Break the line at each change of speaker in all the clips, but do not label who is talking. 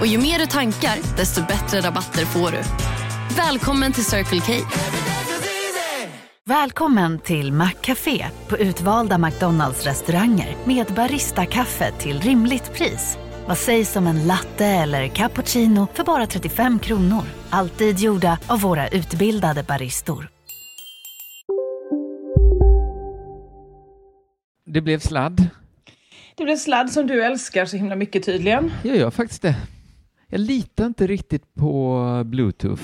Och ju mer du tankar, desto bättre rabatter får du. Välkommen till Circle K.
Välkommen till Maccafé på utvalda McDonalds restauranger med Baristakaffe till rimligt pris. Vad sägs om en latte eller cappuccino för bara 35 kronor? Alltid gjorda av våra utbildade baristor.
Det blev sladd.
Det blir sladd som du älskar så himla mycket tydligen.
Jag gör faktiskt det. Jag litar inte riktigt på bluetooth.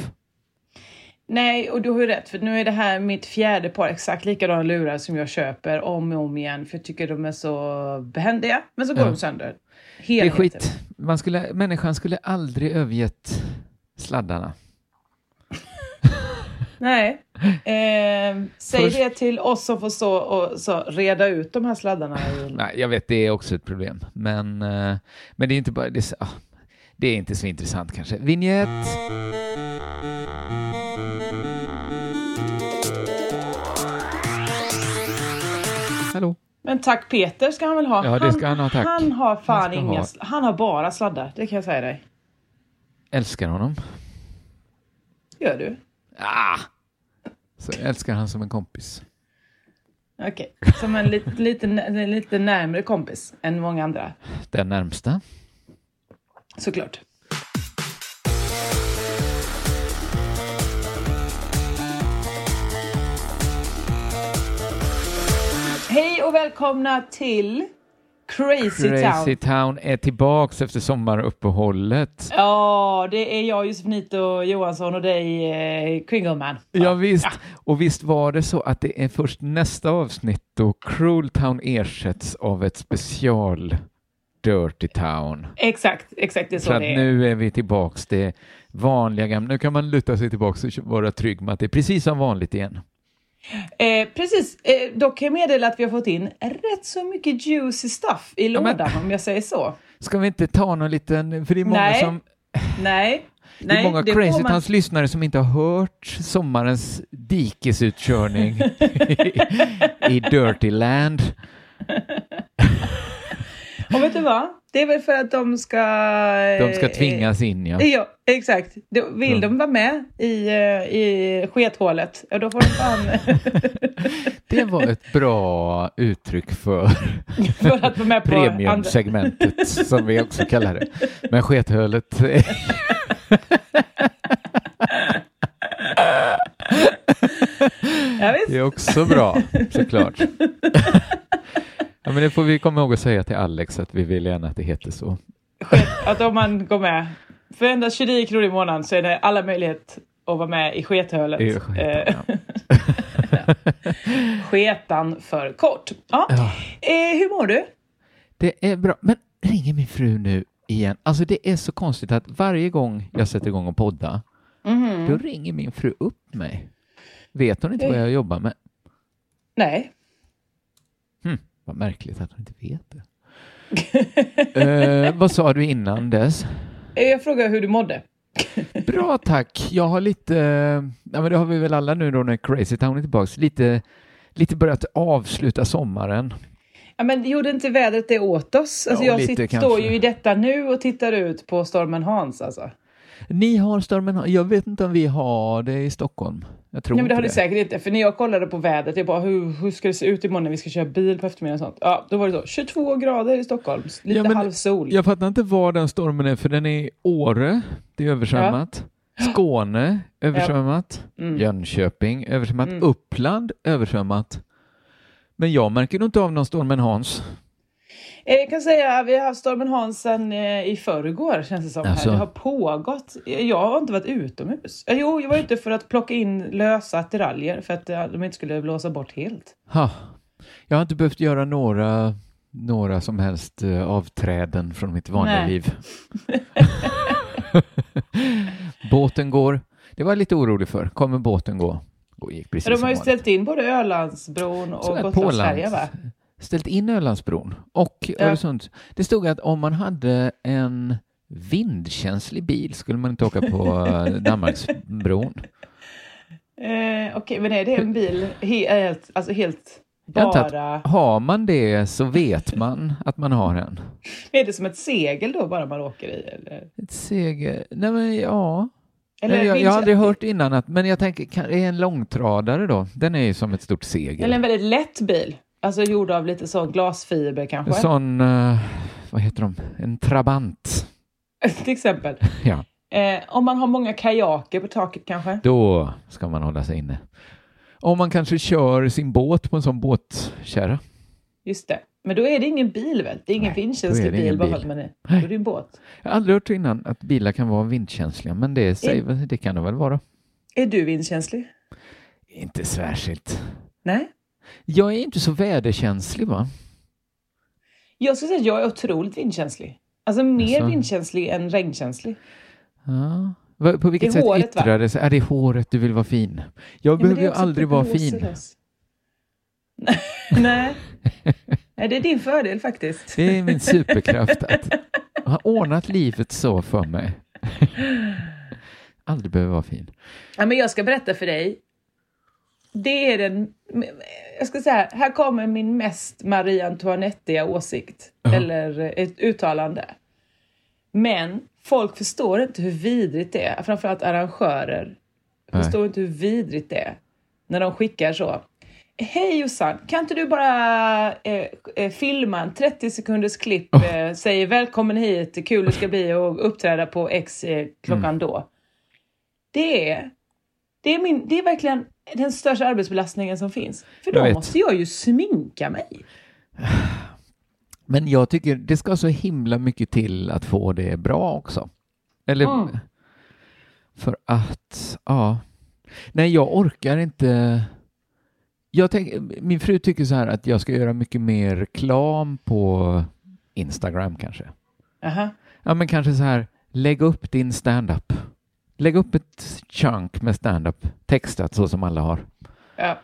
Nej, och du har ju rätt för nu är det här mitt fjärde par exakt likadana lurar som jag köper om och om igen för jag tycker de är så behändiga. Men så går
Ja.
de sönder.
Det är
Helheten.
skit. Man skulle, människan skulle aldrig övergett sladdarna.
Nej. Eh, säg
Först-
det till oss som får så och så reda ut de här sladdarna. i-
Nej, jag vet, det är också ett problem. Men, eh, men det är inte bara... Det är, så- ah, det är inte så intressant kanske. Vignett! Hallå?
Men tack Peter ska han väl ha.
Ja, det ska han ha, tack.
Han har fan
ska
inga...
ha.
sl- Han har bara sladdar, det kan jag säga dig.
Älskar honom.
Gör du?
Ah! Så jag älskar han som en kompis.
Okej. Som en lite, lite, nä- lite närmre kompis än många andra.
Den närmsta.
Såklart. Hej och välkomna till Crazy,
Crazy
Town.
Town är tillbaks efter sommaruppehållet.
Ja, det är jag Josefinito Johansson och dig eh, Kringleman.
Ja, visst. Och visst var det så att det är först nästa avsnitt då Cruel Town ersätts av ett special Dirty Town.
Exakt, exakt det är så,
Så att
det är.
nu är vi tillbaks det vanliga gamla. Nu kan man luta sig tillbaks och vara trygg med att det är precis som vanligt igen.
Eh, precis, eh, dock kan jag meddela att vi har fått in rätt så mycket juicy stuff i
men-
lådan om jag säger så.
Ska vi inte ta någon liten, för det är många
Nej.
som
Nej,
Det är
nej,
många
det får
Crazy
man-
Towns lyssnare som inte har hört sommarens dikesutkörning i Dirty Land.
Och vet du vad? Det är väl för att de ska...
De ska
eh,
tvingas in, ja.
eh, Ja, exakt. Då vill de vara med i, eh, i skethålet, ja, då får de fan
Det var ett bra uttryck för
för att vara med på andra...
premiumsegmentet, som vi också kallar det. Men skethölet...
Ja, visst.
Det är också bra, såklart. Ja, men det får vi komma ihåg att säga till Alex att vi vill gärna att det heter så.
Sket- Att om man går med för endast 29 kronor i månaden så är det alla möjlighet att vara med i skethölet.
I skethölet,
Eh, Sketan för kort. Ja.
Ja.
Eh, hur mår du?
Det är bra. Men ringer min fru nu igen? Alltså det är så konstigt att varje gång jag sätter igång och podda, då ringer min fru upp mig. Vet hon inte
Eh.
vad jag jobbar med?
Nej.
Hm, vad märkligt att hon inte vet det. eh, vad sa du innan dess?
Eh, Jag frågar hur du mådde.
Bra tack. Jag har lite, eh, ja men det har vi väl alla nu då när Crazy Town är tillbaks, lite, lite börjat avsluta sommaren.
Ja, men gjorde inte vädret det åt oss? Alltså,
Ja,
jag
lite
sitter,
kanske.
står ju i detta nu och tittar ut på stormen Hans. Alltså.
Ni har stormen, jag vet inte om vi har det i Stockholm. Jag tror
Nej, men det
inte
har ni säkert inte. För när jag kollade på vädret, jag bara hur, hur ska det se ut imorgon när vi ska köra bil på eftermiddagen och sånt. Ja, då var det så. 22 grader i Stockholm, lite
Ja, men-
halvsol.
Jag fattar inte var den stormen är, för den är i Åre, det är översvämmat. Skåne, översvämmat.
Mm.
Jönköping, översvämmat. Uppland, översvämmat. Men jag märker nog inte av någon stormen Hans.
Eh, Jag kan säga att vi har haft stormen Hans sedan eh, i förrgår känns det som.
Alltså.
Här. Det har pågått. Eh, Jag har inte varit utomhus. Eh, Jo, jag var ute för att plocka in lösa attiraljer för att eh, de inte skulle blåsa bort helt.
Ha. Jag har inte behövt göra några, några som helst eh, avträden från mitt vanliga
Nej.
liv. båten går. Det var jag lite orolig för. Kommer båten gå? Och gick precis
Men de
som
har ju
vanligt.
ställt in både Ölandsbron
Så
och
här,
Gotlandsfärjan va?
Pålands- Ställt in Ölandsbron och
Ja.
Öresund. Det stod att om man hade en vindkänslig bil skulle man inte åka på eh, Danmarksbron.
Eh, Okej, men är det en bil he- helt, alltså helt
Jag antar att-
bara...
Har man det så vet man att man har en.
Är det som ett segel då bara man åker i? Eller,
Ett seger. Nej men ja.
eller,
jag, jag har
vindskä-
aldrig hört innan att, men jag tänker, kan, är en långtradare då? Den är ju som ett stort segel.
eller en väldigt lätt bil? Alltså gjord av lite sån glasfiber kanske?
En sån, eh, vad heter de, en trabant.
Till exempel.
Ja,
Eh, om man har många kajaker på taket kanske?
då ska man hålla sig inne. Om man kanske kör sin båt på en sån båtkärra.
Just det. Men då är det ingen bil väl? Det är ingen
Nej, då är
vindkänslig
det ingen
bil bara för
bil.
att man är... Då
Nej.
är det en båt.
Jag har aldrig hört innan att bilar kan vara vindkänsliga, men det, säger, väl- det kan det väl vara.
Är du vindkänslig?
Inte särskilt.
Nej?
Jag är inte så väderkänslig va?
Jag skulle säga att jag är otroligt vindkänslig. Alltså mer
Jaså?
vindkänslig än regnkänslig.
Ja. Va- På vilket
Det är
sätt
håret, va?
yttrar det sig? Är det är håret du vill vara fin? Jag
Ja, men
behöver
det är
ju
också
aldrig
typ
vara
roser
fin.
rosa. Nej. Nej, det är din fördel faktiskt.
Det är min superkraft att ha ordnat livet så för mig. Aldrig behöver vara fin.
Ja, men jag ska berätta för dig. Det är den... Jag ska säga, här kommer min mest Marie Antoinette åsikt. Eller eh, ett uttalande. Men folk förstår inte hur vidrigt det är. Framförallt arrangörer.
Nej.
Förstår inte hur vidrigt det är. När de skickar så. Hej Jossan, kan inte du bara eh, eh, filma en 30 sekunders klipp?
Oh.
Eh, säger välkommen hit, kul det ska bli att uppträda på X eh, klockan
Mm.
då. Det är, det, är min, det är verkligen den största arbetsbelastningen som finns. För
Jag
då
vet.
måste jag ju sminka mig.
Men jag tycker det ska så himla mycket till att få det bra också. Eller
Mm.
för att, ja. Nej, jag orkar inte. Jag tänk, min fru tycker så här att jag ska göra mycket mer reklam på Instagram kanske.
Aha.
Ja, men kanske så här, lägg upp din stand-up. Lägg upp ett chunk med stand-up textat så som alla har.
Ja.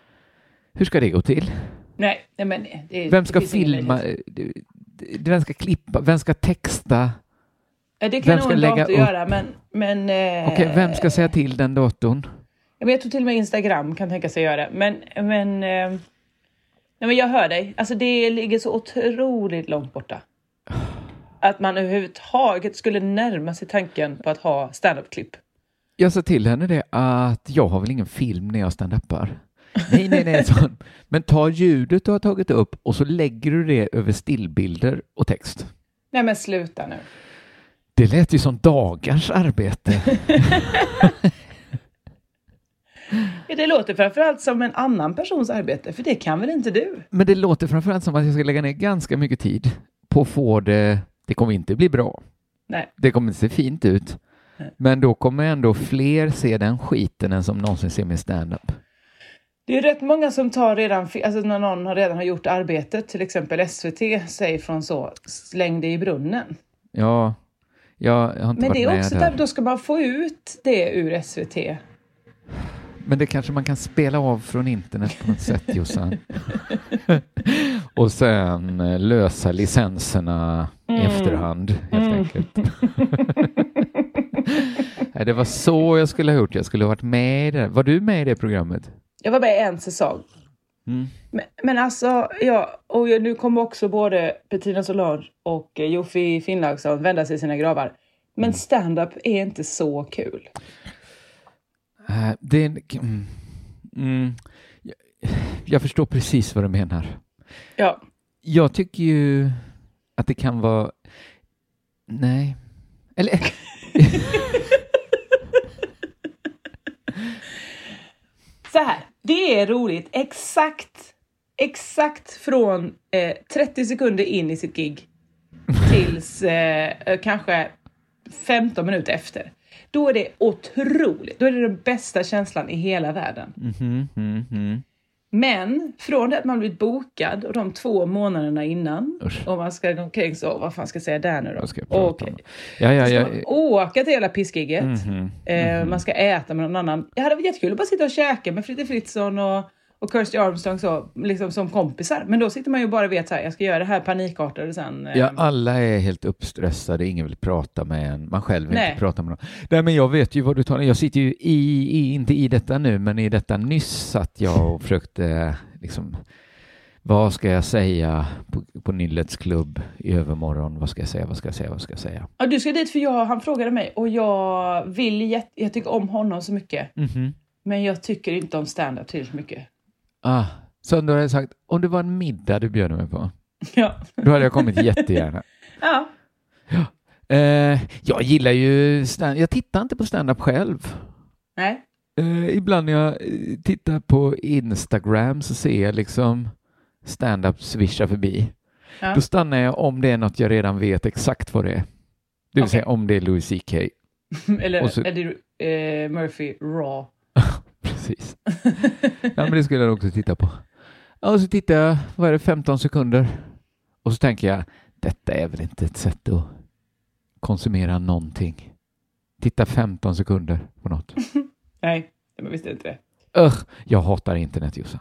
Hur ska det gå till?
Nej, nej, men nej, det,
Vem ska
det finns ingen
filma?
möjlighet.
eh, Vem ska klippa? Vem ska texta?
Ja, Det kan
vem
nog
ska
en
lägga
dator
upp?
göra, men... men eh,
Okej, vem ska säga till den datorn?
Ja, men jag tror till och med Instagram kan tänka sig göra det. Men, men, eh, nej, men jag hör dig. Alltså, det ligger så otroligt långt borta. Att man överhuvudtaget skulle närma sig tanken på att ha standup-klipp.
Jag sa till henne det att jag har väl ingen film när jag standupar. Nej, nej, nej, sa hon. Men ta ljudet du har tagit upp och så lägger du det över stillbilder och text.
Nej men sluta nu.
Det lät ju som dagars arbete.
Ja, Det låter framförallt som en annan persons arbete, för det kan väl inte du?
Men det låter framförallt som att jag ska lägga ner ganska mycket tid på att få det. Det kommer inte bli bra.
Nej.
Det kommer inte se fint ut.
Nej.
Men då kommer ändå fler se den skiten än som någonsin ser min standup.
Det är rätt många som tar redan, fi- alltså när någon har redan har gjort arbetet, till exempel SVT, säg från så, släng det i brunnen.
Ja, jag har inte
Men
varit
det är
med
också
där.
där, då ska man få ut det ur SVT.
Men det kanske man kan spela av från internet på något sätt, Jossan. Och sen eh, lösa licenserna i efterhand, helt enkelt. Nej, det var så jag skulle ha gjort. Jag skulle ha varit med i det. Var du med i det programmet?
Jag var med i en säsong.
Mm.
Men, men alltså, ja, och jag, nu kommer också både Petrina Solange och eh, Jofi Finnlaugsson vända sig i sina gravar.
Mm.
Men stand-up är inte så kul.
Eh, Det är en... mm. Mm. Jag- Jag förstår precis vad du menar.
Ja,
Jag tycker ju att det kan vara... Nej. Eller...
så här. Det är roligt exakt, exakt från eh, 30 sekunder in i sitt gig tills eh, eh, kanske 15 minuter efter. Då är det otroligt. Då är det den bästa känslan i hela världen.
Mhm, mhm, mhm.
Men från det att man blivit bokad och de två månaderna innan
Usch.
och man ska gå omkring så, vad fan ska jag säga där nu då?
Vad ska jag prata
Okej.
om? Ja, ja,
Så
ja.
ska man åka till hela pissgigget.
Mhm.
Eh, man ska äta med någon annan. Det hade varit jättekul att bara sitta och käka med Fritte Fritzson och, och Kirsty Armstrong så, liksom som kompisar. Men då sitter man ju bara och vet så här, jag ska göra det här panikartade sen. eh,
Ja, alla är helt uppstressade, ingen vill prata med en, man själv vill
Nej.
inte prata med någon. Nej, men jag vet ju vad du talar Jag sitter ju i, i, inte i detta nu, men i detta nyss satt jag och försökte liksom, vad ska jag säga på, på Nillets klubb i övermorgon? Vad ska jag säga, vad ska jag säga, vad ska jag säga?
Ja, du ska dit för jag, han frågade mig och jag vill jätte, jag tycker om honom så mycket.
Mhm.
Men jag tycker inte om stand-up tillräckligt mycket.
Ah, så då hade jag sagt, om det var en middag du bjöd mig på,
Ja.
då hade jag kommit jättegärna.
ja.
Eh, jag gillar ju stand jag tittar inte på stand-up själv.
Nej.
Eh, ibland när jag eh, tittar på Instagram så ser jag liksom stand-up swisha förbi.
Ja.
Då stannar jag om det är något jag redan vet exakt vad det är. Det vill
Okej.
säga om det är Louis CK.
Eller
Och så-
Eddie eh, Murphy Raw.
Precis. ja, men det skulle jag också titta på. Ja, och så tittar jag, vad är det, 15 sekunder. Och så tänker jag, detta är väl inte ett sätt att konsumera någonting. Titta 15 sekunder på något.
Nej, jag visste inte det.
Ugh, jag hatar internet Jossan.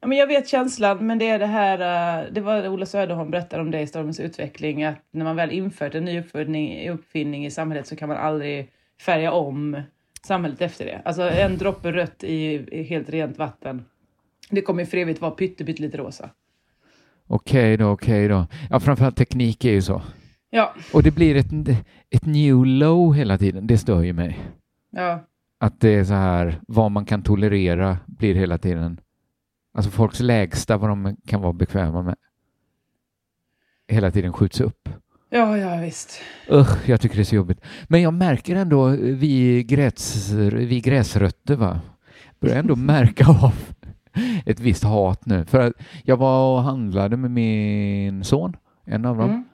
Ja, men jag vet känslan, men det är det här, eh, det var Ola Söderholm berättade om det i Stormens utveckling, att när man väl infört en ny uppfinning, uppfinning i samhället så kan man aldrig färga om samhället efter det. Alltså en droppe rött i, i helt rent vatten, det kommer ju för evigt vara pyttelite lite rosa.
Okej då, okej då. Ja, framförallt teknik är ju så.
Ja,
Och det blir ett, ett new low hela tiden. Det stör ju mig.
ja,
Att det är så här, vad man kan tolerera blir hela tiden... Alltså folks lägsta, vad de kan vara bekväma med, hela tiden skjuts upp.
ja, ja visst.
Usch, jag tycker det är så jobbigt. Men jag märker ändå, eh, vi, gräs, vi gräsrötter va, börjar ändå märka av ett visst hat nu. För att jag var och handlade med min son, en av dem,
Mm.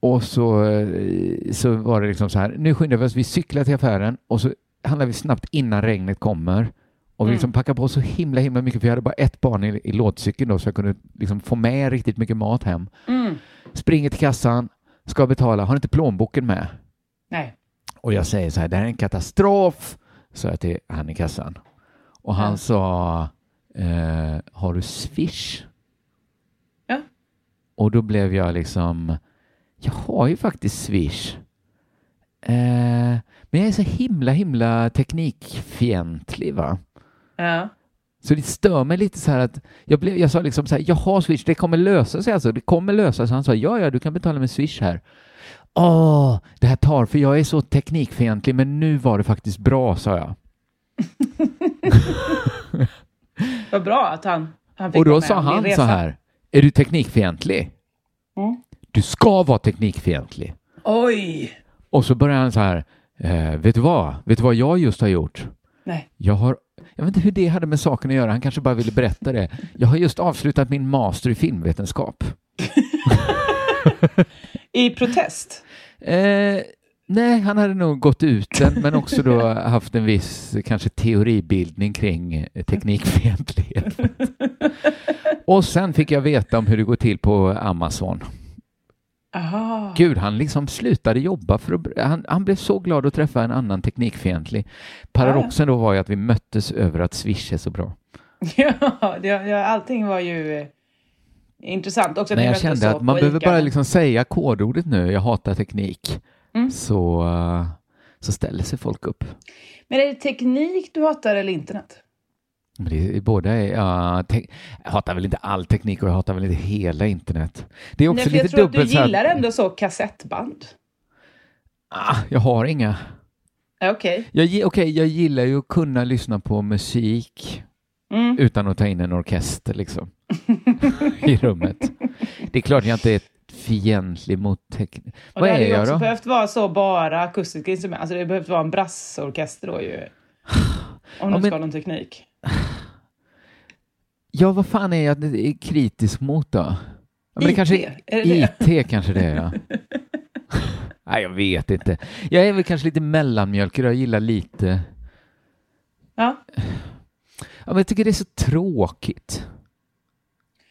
och så, eh, så var det liksom så här, nu skyndar vi oss, vi cyklar till affären och så handlar vi snabbt innan regnet kommer. Och vi
Mm.
liksom packar på så himla himla mycket, för jag hade bara ett barn i, i lådcykeln då, så jag kunde liksom få med riktigt mycket mat hem.
Mm.
Springer till kassan, ska betala, har inte plånboken med.
Nej.
Och jag säger så här, det här är en katastrof, sa jag till han i kassan. Och han
Ja.
sa, eh, har du swish?
Ja.
Och då blev jag liksom, jag har ju faktiskt swish. Eh, men jag är så himla, himla teknikfientlig va.
Ja.
Så det stör mig lite så här att jag, blev, jag sa liksom så här, jag har Swish, det kommer lösa sig alltså, det kommer lösa sig. Han sa, ja, ja, du kan betala med Swish här. Åh, det här tar, för jag är så teknikfientlig, men nu var det faktiskt bra, sa jag.
Vad bra att han, han fick
Och
vara
då
med
sa
om din
han så
resa.
här, är du teknikfientlig?
Mm.
Du ska vara teknikfientlig.
Oj!
Och så börjar han så här, eh, vet du vad, vet du vad jag just har gjort?
Nej.
Jag har, jag vet inte hur det hade med saken att göra, han kanske bara ville berätta det. Jag har just avslutat min master i filmvetenskap.
I protest.
Eh, nej, han hade nog gått ut den, men också då haft en viss kanske teoribildning kring eh, teknikfientlighet. Och sen fick jag veta om hur det går till på Amazon.
Aha.
Gud, han liksom slutade jobba för att, han, han blev så glad att träffa en annan teknikfientlig. Paradoxen då var ju att vi möttes över att Swish är så bra.
Ja, det, ja, allting var ju eh, intressant. Också
Men
att ni
jag
möttes
kände
så
att man
på
behöver
Ica.
bara liksom säga kodordet nu, jag hatar teknik.
Mm.
Så, eh, så ställer sig folk upp. liksom-
Men är det teknik du hatar eller internet?
Men det, är- båda är, ja, te- jag hatar väl inte all teknik och jag hatar väl inte hela internet. Det är också
Nej, för jag
lite
tror att du
dubbelt så här-
gillar ändå så kassettband.
Ah, jag har inga.
Ja, Okej.
Jag, gi- okej, jag gillar ju att kunna lyssna på musik
Mm.
utan att ta in en orkester liksom i rummet. Det är klart jag inte är fientlig mot teknik.
Och
Vad
det
är
hade ju
jag
också
då?
behövt vara så bara akustiska instrument. Alltså det behövt vara en brassorkester då ju. Om
Ja,
du
men-
ska ha någon teknik.
Ja, vad fan är jag kritisk mot då? Ja, men det
IT,
kanske
är det
IT kanske det är, ja. Nej, jag vet inte. Jag är väl kanske lite mellanmjölk. Jag gillar lite
Ja.
Ja, men jag tycker det är så tråkigt.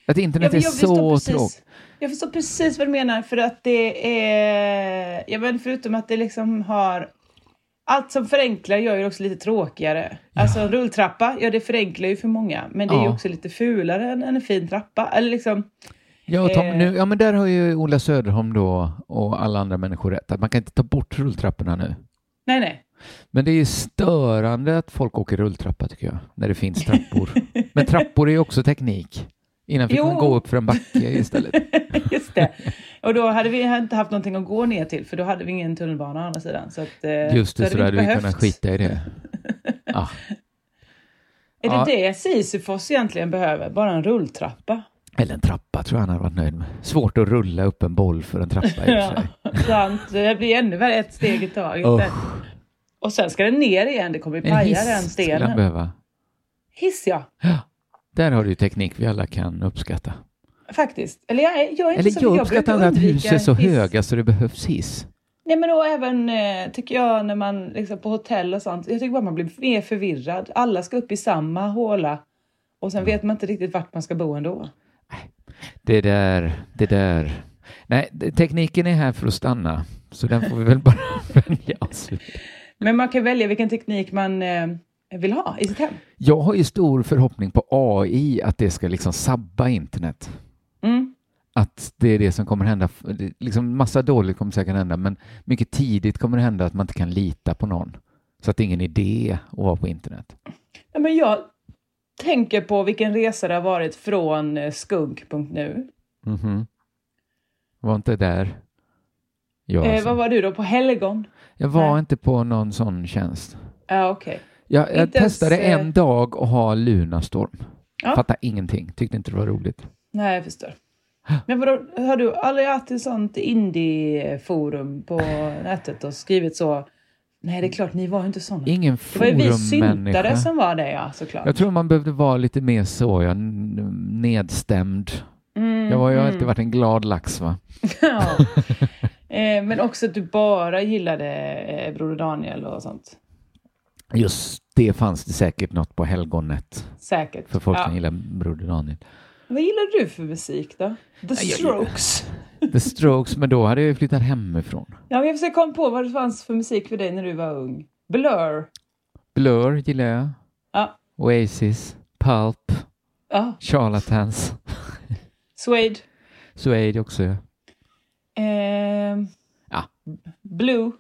Att internet
men
är så
förstår
tråkigt.
precis, jag förstår precis vad du menar, för att det är... Ja, men förutom att det liksom har... Allt som förenklar gör ju också lite tråkigare. Alltså en rulltrappa, ja det förenklar ju för många, men det är ju
Ja.
också lite fulare än en fin trappa. Eller liksom,
Ja, och Tom,
Eh.
nu, ja, men där har ju Ola Söderholm då och alla andra människor rätt. Att man kan inte ta bort rulltrapporna nu.
nej, nej.
Men det är ju störande att folk åker rulltrappa tycker jag, när det finns trappor. men trappor är ju också teknik. Innan fick
Jo.
man gå upp för en backe istället.
Just det. Och då hade vi inte haft någonting att gå ner till, för då hade vi ingen tunnelbana å andra sidan. Så att, eh,
Just det, så då hade vi
inte
kunnat skita i det. Ah.
Är
Ja.
det det Sisyfos egentligen behöver? Bara en rulltrappa?
Eller en trappa tror jag han hade varit nöjd med. Svårt att rulla upp en boll för en trappa i och för sig.
Sant. Det blir ännu värre, ett steg i taget.
Usch.
där. Och sen ska den ner igen, det kommer ju
En
paja den
hiss skulle han
stenen.
behöva.
Hiss ja,
Där har du ju teknik vi alla kan uppskatta.
faktiskt. Eller jag, är- jag är inte
Eller
så,
jag
brukar
uppskattar
inte
att hus
undvika
är så
hiss.
höga så det behövs hiss.
Nej men och även eh, tycker jag när man liksom på hotell och sånt. Jag tycker bara man blir mer förvirrad. Alla ska upp i samma håla. Och sen vet man inte riktigt vart man ska bo ändå.
Det där, det där. Nej, det- tekniken är här för att stanna. Så den får vi väl bara vänja oss vid.
Men man kan välja vilken teknik man eh, vill ha i sitt hem.
Jag har ju stor förhoppning på AI, att det ska liksom sabba internet.
Mm.
Att det är det som kommer hända. Det- Liksom massa dåligt kommer säkert hända, men mycket tidigt kommer det hända att man inte kan lita på någon. Så att det är ingen idé att vara på internet.
Ja, men jag tänker på vilken resa det har varit från eh, skugg.nu.
Mhm. Var inte där. Jag,
Eh,
alltså.
vad var du då på helgon?
jag var
Nej.
inte på någon sån tjänst.
Ja, okej.
Jag, jag
Inte ens,
testade
eh,
en dag att ha Lunarstorm.
Ja.
Fattade ingenting, tyckte inte det var roligt.
Nej, jag förstår. Men vadå, har du aldrig haft ett sånt indie-forum på nätet och skrivit så? Nej, det är klart, ni var ju inte såna.
Ingen
Det var ju vi syntare
forummänniska.
som var det, ja, såklart.
Jag tror man behövde vara lite mer så, jag, nedstämd.
Mm,
Jag har ju
mm.
alltid varit en glad lax va?
Ja. Eh, Men också att du bara gillade eh, Broder Daniel och sånt.
Just det fanns det säkert något på helgonet
Säkert.
för folk
Ja.
som gillar Broder Daniel.
Vad gillar du för musik då? The
jag-
Strokes.
The Strokes, men då hade jag ju flyttat hemifrån.
Ja, men jag försöker komma på vad det fanns för musik för dig när du var ung. Blur.
Blur gillar jag.
Ja.
Oasis, Pulp,
Ja.
Charlatans,
Suede.
Suede också.
Ehm,
Ja.
Blue.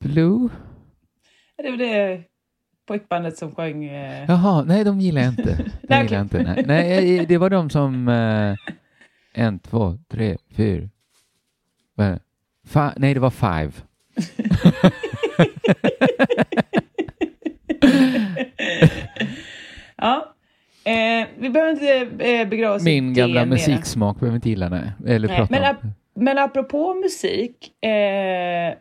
Blue?
Det var det pojkbandet som sjöng... eh,
Jaha, nej de gillar jag inte. De
Nej,
gillar jag inte. Nej. nej, eh, det var de som... Eh, en, två, tre, fyra... Vad är det? Fi- nej, det var Five.
Ja. Eh, vi behöver inte eh, begrava oss i
Min
det
gamla
mera.
musiksmak behöver vi inte gilla, nej. Eller
Nej,
prata
men,
om.
ap- men apropå musik eh,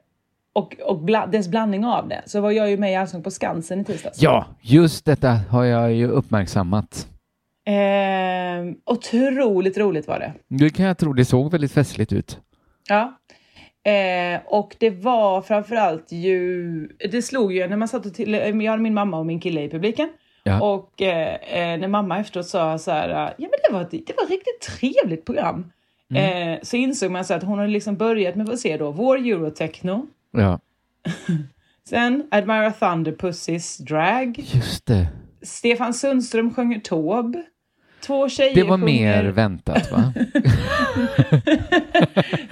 och, och bla- dess blandning av det, så var jag ju med i Allsång på Skansen i tisdags.
Ja, just detta har jag ju uppmärksammat.
Eh, otroligt roligt var det.
Det kan jag tro, det såg väldigt festligt ut.
Ja. Eh, och det var framförallt ju, det slog ju en när man satt och till, jag hade min mamma och min kille i publiken.
Ja.
Och eh, eh, när mamma efteråt sa så här, ja men det var, ett- det var ett riktigt trevligt program.
Mm.
Eh, så insåg man så att hon hade liksom börjat med, vad ser då, vår Eurotechno.
Ja,
Sen Admira Thunderpussys drag.
just det.
Stefan Sundström sjunger Taube. Två tjejer
Det var
sjunger...
mer väntat, va?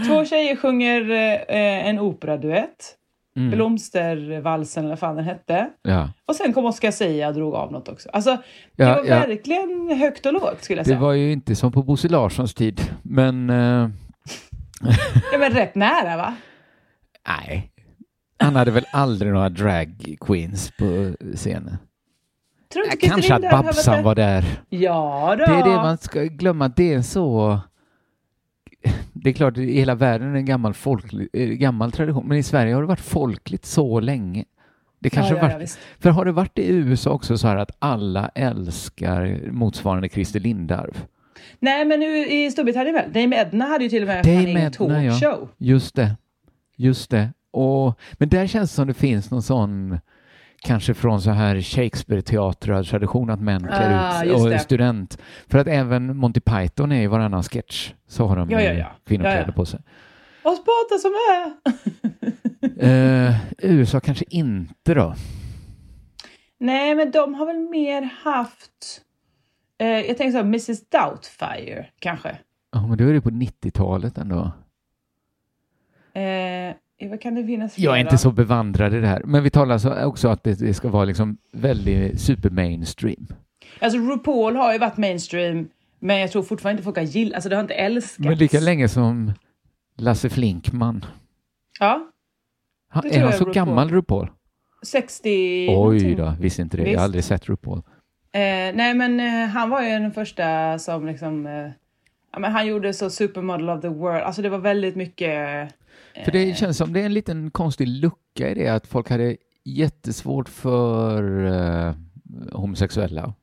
Två tjejer sjunger eh, en operaduett.
Mm.
Blomstervalsen, eller vad fan den hette.
Ja.
Och sen kom Oscar Sia och drog av något också. Alltså, det
Ja,
var
ja.
verkligen högt och lågt skulle jag
Det
säga.
var ju inte som på Bosse Larssons tid, men... Eh,
Ja, men rätt nära va?
Nej. Han hade väl aldrig några drag queens på scenen?
Tror du inte
Kanske
Christer
att
Lindberg har varit
Babsan
där?
var där.
Ja då.
Det är det man ska glömma. Det är så... Det är klart, i hela världen är det en gammal, folklig, eh, gammal tradition, men i Sverige har det varit folkligt så länge. Det kanske
ja,
har varit,
ja, ja, visst.
För har det varit i USA också så här att alla älskar motsvarande Christer Lindarw?
Nej, men nu i Storbritannien väl? Dame Edna hade ju till och med
Dame
fan egen
Edna, ja.
talkshow.
Just det. Just det. Och, men där känns det som det finns någon sån kanske från så här Shakespeare-teatrar-tradition att män klär
Ah,
ut
just
och
det.
student. För att även Monty Python är i varannan sketch så har de
Ja, ja,
eh,
ja.
kvinnokläder
Ja, ja.
på sig.
Och spata som är.
Eh, USA kanske inte då.
Nej, men de har väl mer haft... Eh, jag tänker så här, Mrs Doubtfire kanske.
Ja, men då är det på 90-talet ändå.
Eh, vad kan det finnas
Jag är
flera?
inte så bevandrad i det här, men vi talar så också att det, det ska vara liksom väldigt supermainstream.
Alltså RuPaul har ju varit mainstream, men jag tror fortfarande inte folk har gillat... Alltså det har inte älskats.
Men lika länge som Lasse Flinkman.
Ja,
Han,
Det
är
tror
han
jag
så
RuPaul.
gammal RuPaul?
60...
Oj
någonting.
då, visste inte det. Jag
Visst.
har aldrig sett RuPaul.
Eh, nej, men eh, han var ju den första som liksom... Eh, ja, men han gjorde så Supermodel of the World. Alltså det var väldigt mycket... eh,
För det känns som det är en liten konstig lucka i det att folk hade jättesvårt för eh, homosexuella.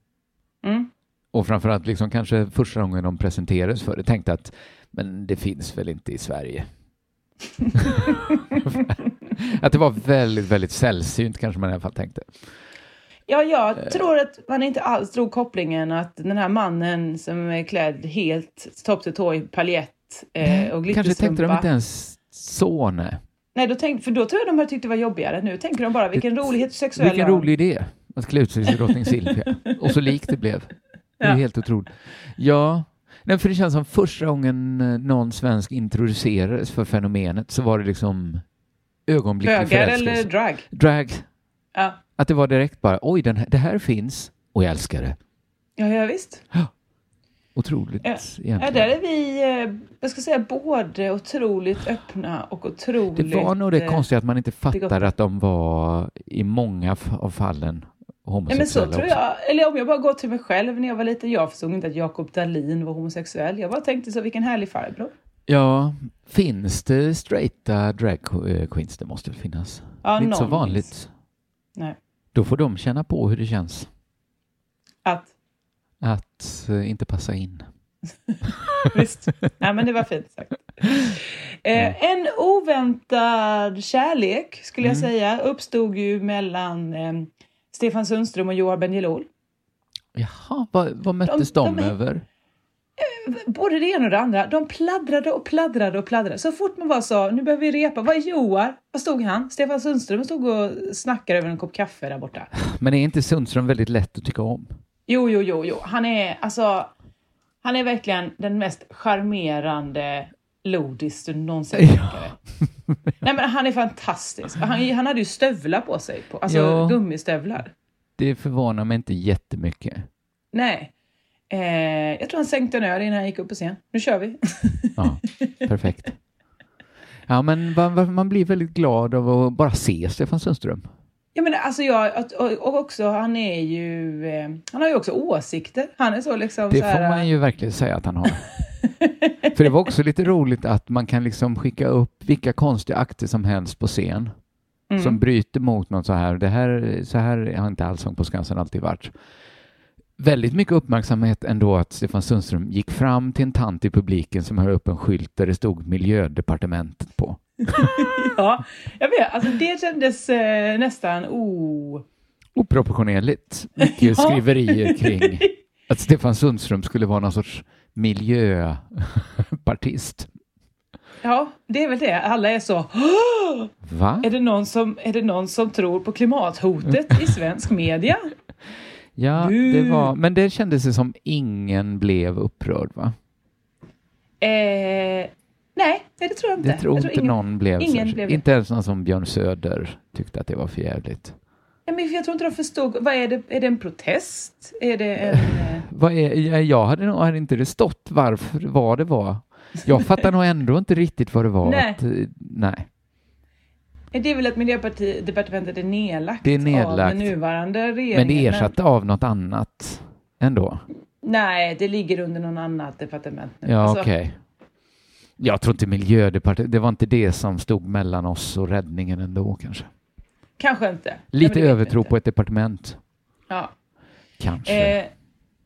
Mm.
Och framförallt liksom kanske första gången de presenterades för det tänkte att men det finns väl inte i Sverige. att det var väldigt, väldigt sällsynt kanske man i alla fall tänkte.
Ja,
Eh.
jag tror att man inte alls drog kopplingen att den här mannen som är klädd helt topp till tå i paljett eh, och
kanske tänkte de
glitterstrumpa.
inte ens eh, så, nej.
Nej, då tänkte, för då tror jag de hade tyckt det var jobbigare. Nu tänker de bara vilken rolig heterosexuell
Vilken
han.
rolig idé att klä ut sig till drottning Silvia. Och så likt det blev. Det är
Ja.
helt otroligt. Ja, Nej, för det känns som första gången eh, någon svensk introducerades för fenomenet så var det liksom ögonblicklig
Bögar eller
förälskelse.
drag.
Drag.
Ja,
Att det var direkt bara oj, den här, det här finns och jag älskar det.
ja, ja visst.
Otroligt
Ja.
egentligen.
Ja, där är vi, eh, jag ska säga, både otroligt öppna och
det
otroligt...
var nog det
eh,
konstiga att man inte fattade
gott.
att de var i många f- av fallen
Ja, men så
homosexuella
tror
också.
jag. Eller om jag bara går till mig själv när jag var liten. Jag förstod inte att Jakob Dahlin var homosexuell. Jag bara tänkte så, vilken härlig farbror.
Ja, finns det straighta drag eh, queens? Det måste väl finnas?
Ja,
det är inte så
någon
vanligt.
minns. Nej.
Då får de känna på hur det känns
Att
att eh, inte passa in.
Visst. Ja, men det var fint sagt. Eh, en oväntad kärlek, skulle
Mm.
jag säga, uppstod ju mellan eh, Stefan Sundström och Johan Bendjelloul.
Jaha, vad, vad möttes de,
de är-
över?
Både det ena och det andra. De pladdrade och pladdrade och pladdrade. Så fort man var så, nu behöver vi repa. Var är Johan? Var stod han? Stefan Sundström stod och snackade över en kopp kaffe där borta.
Men är inte Sundström väldigt lätt att tycka om?
Jo, jo, jo, jo. Han är alltså... Han är verkligen den mest charmerande lodis du någonsin
Ja.
tänker dig. Nej men han är fantastisk. Han, han hade ju stövlar på sig, på, alltså
Ja.
gummistövlar.
Det förvånar mig inte jättemycket.
Nej. Eh, jag tror han sänkte en öl innan han gick upp på scen. Nu kör vi.
Ja, perfekt. Ja, men va- va- man blir väldigt glad av att bara se Stefan Sundström.
Jag menar, alltså jag, att- och, och också han är ju, eh, han har ju också åsikter. Han är så liksom
Det
så här,
får man ju verkligen säga att han har. För det var också lite roligt att man kan liksom skicka upp vilka konstiga akter som helst på scen
Mm.
som bryter mot något så här. Det här, så här har inte Allsång på Skansen alltid varit. Väldigt mycket uppmärksamhet ändå att Stefan Sundström gick fram till en tant i publiken som höll upp en skylt där det stod Miljödepartementet på.
Ja, jag vet. Alltså det kändes eh, nästan o...
Oproportionerligt mycket
Ja.
skriverier kring att Stefan Sundström skulle vara någon sorts miljöpartist.
Ja, det är väl det. Alla är så... "Åh!"
Va?
Är det någon som, är det någon som tror på klimathotet i svensk media?
Ja,
Nu.
det var, men det kändes det som ingen blev upprörd va?
Eh, nej, nej, det tror jag inte.
Det tror
jag
inte någon blev.
ingen
särskilt-
blev det.
inte ens någon som Björn Söder tyckte att det var för jävligt.
Nej, men jag tror inte de förstod. Vad är det? Är det en protest? Är det en... eh,
Vad är, jag- jag hade nog hade inte det stått varför, vad det var. Jag fattar nog ändå inte riktigt vad det var.
Nej.
Att, eh, nej.
är det är väl att Miljödepartementet är nedlagt,
Det är
av
nedlagt.
den nuvarande regeringen.
Men det ersatte av något annat ändå.
nej, det ligger under någon annat departement nu.
Ja,
Alltså,
okej. Jag tror inte miljödepartementet, det var inte det som stod mellan oss och räddningen ändå kanske.
Kanske inte. Nej, men
Lite
det vet vi
övertro
inte.
på ett departement,
Ja.
kanske.
Eh,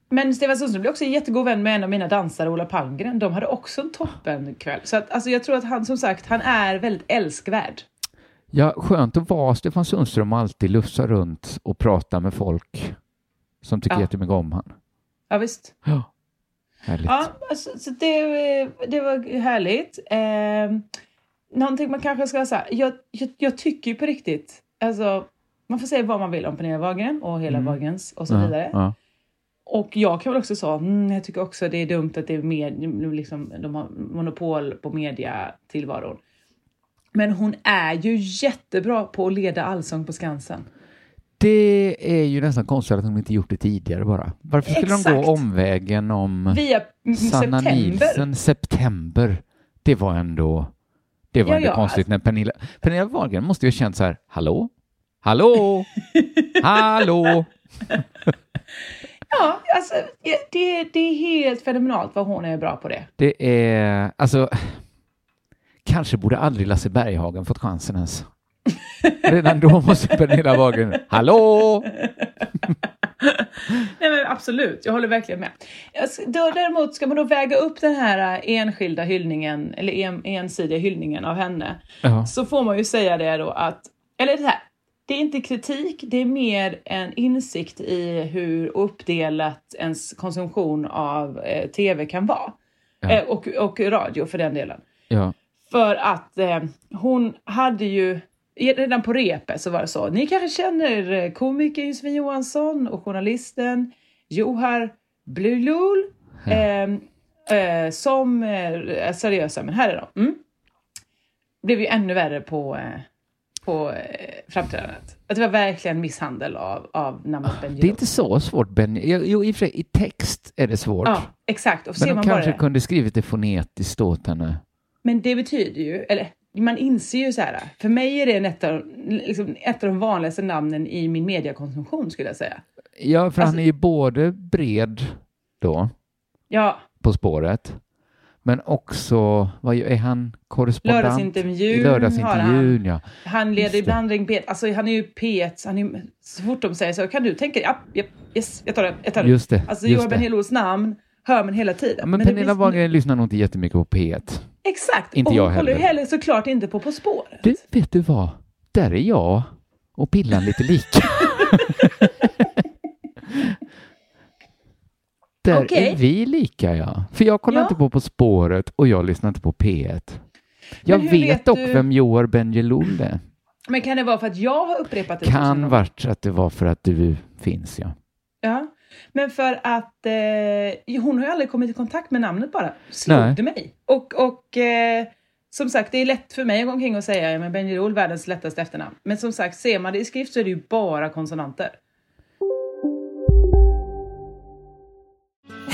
men Stefan Sundström blev också jättegod vän med en av mina dansare, Ola Palmgren. De hade också en toppenkväll. Så att, alltså, jag tror att han som sagt, han är väldigt älskvärd.
Ja, skönt att vara Stefan Sundström och alltid lufsa runt och prata med folk som tycker
Ja.
jättemycket om han.
Ja, visst.
Ja, härligt.
Ja, alltså, så det, det var härligt. Eh, någonting man kanske ska säga. Jag, jag, jag tycker ju på riktigt, alltså, man får säga vad man vill om Pernilla Wahlgren och hela
Mm.
Wahlgrens och så
Ja,
vidare.
ja.
Och jag kan väl också säga, mm, jag tycker också det är dumt att det är med, liksom, de har monopol på mediatillvaron. Men hon är ju jättebra på att leda Allsång på Skansen.
Det är ju nästan konstigt att de inte gjort det tidigare bara. Varför skulle de
Exakt.
gå omvägen om
Via mm,
Sanna
september.
Nielsen september? Det var ändå, det var
Ja,
ändå
ja,
konstigt
alltså-
när Pernilla, Pernilla Wahlgren måste ju ha känt så här, hallå? Hallå? hallå?
Ja, alltså, det- det, det är helt fenomenalt vad hon är bra på det.
Det är, alltså, kanske borde aldrig Lasse Berghagen fått chansen ens. Redan då måste Pernilla Wahlgren, hallå?
Nej men absolut, jag håller verkligen med. Jag ska- Då, däremot ska man då väga upp den här eh, enskilda hyllningen, eller en, ensidiga hyllningen av henne,
Ja.
så får man ju säga det då att, eller det här, det är inte kritik, det är mer en insikt i hur uppdelat ens konsumtion av eh, TV kan vara.
Ja.
Eh, och, och radio för den delen.
Ja.
För att eh, hon hade ju, redan på repet så var det så, ni kanske känner eh, komikern Sven Johansson och journalisten Johar Blulul eh, eh, som eh, är seriösa, men här är de. Mm. Blev ju ännu värre på, eh, på eh, framträdandet. Att det var verkligen misshandel av, av namnet
Ah, Det
Ben
är
Benjulul.
inte så svårt, Benny. Jo, i och för sig, i text är det svårt.
Ja, exakt. Och ser
Men de
man bara
kanske
det.
kunde skrivit det fonetiskt åt henne.
Men det betyder ju, eller man inser ju så här, för mig är det en ett av, liksom, ett av de vanligaste namnen i min mediakonsumtion skulle jag säga.
Ja, för han
Alltså-
är ju både bred då,
Ja,
På spåret, men också, vad är han korrespondent?
Lördagsintervjun
I lördagsintervjun, ja.
han
Just
leder
det.
ibland Ring P1, alltså han är ju P1, han är, ju- så fort de säger så, kan du tänka dig, ja, ja, yes, jag tar det, jag tar det.
Just det,
alltså
just
Johan
det.
Benhilos namn hör man hela tiden.
ja men,
det
Pernilla
blir-
Wahlgren lyssnar nog inte jättemycket på P1.
Exakt,
inte
och hon
jag
håller ju
heller.
heller såklart inte på På spåret.
Du, vet du vad? Där är jag och pillan lite lika. Där
Okej.
är vi lika, ja. För jag kollar
Ja.
inte på På spåret och jag lyssnar inte på P1. Jag
hur
vet,
vet
dock
du-
vem Johar Bendjelloul är.
Men kan det vara för att jag har upprepat det? tusen
Kan
gånger?
vart att det var för att du finns, ja.
Ja, men för att eh, hon har ju aldrig kommit i kontakt med namnet bara. Slog
Nej.
det mig. Och, och eh, som sagt, det är lätt för mig att gå omkring och säga ja, men Benjerol, världens lättaste efternamn. Men som sagt, ser man det i skrift så är det ju bara konsonanter.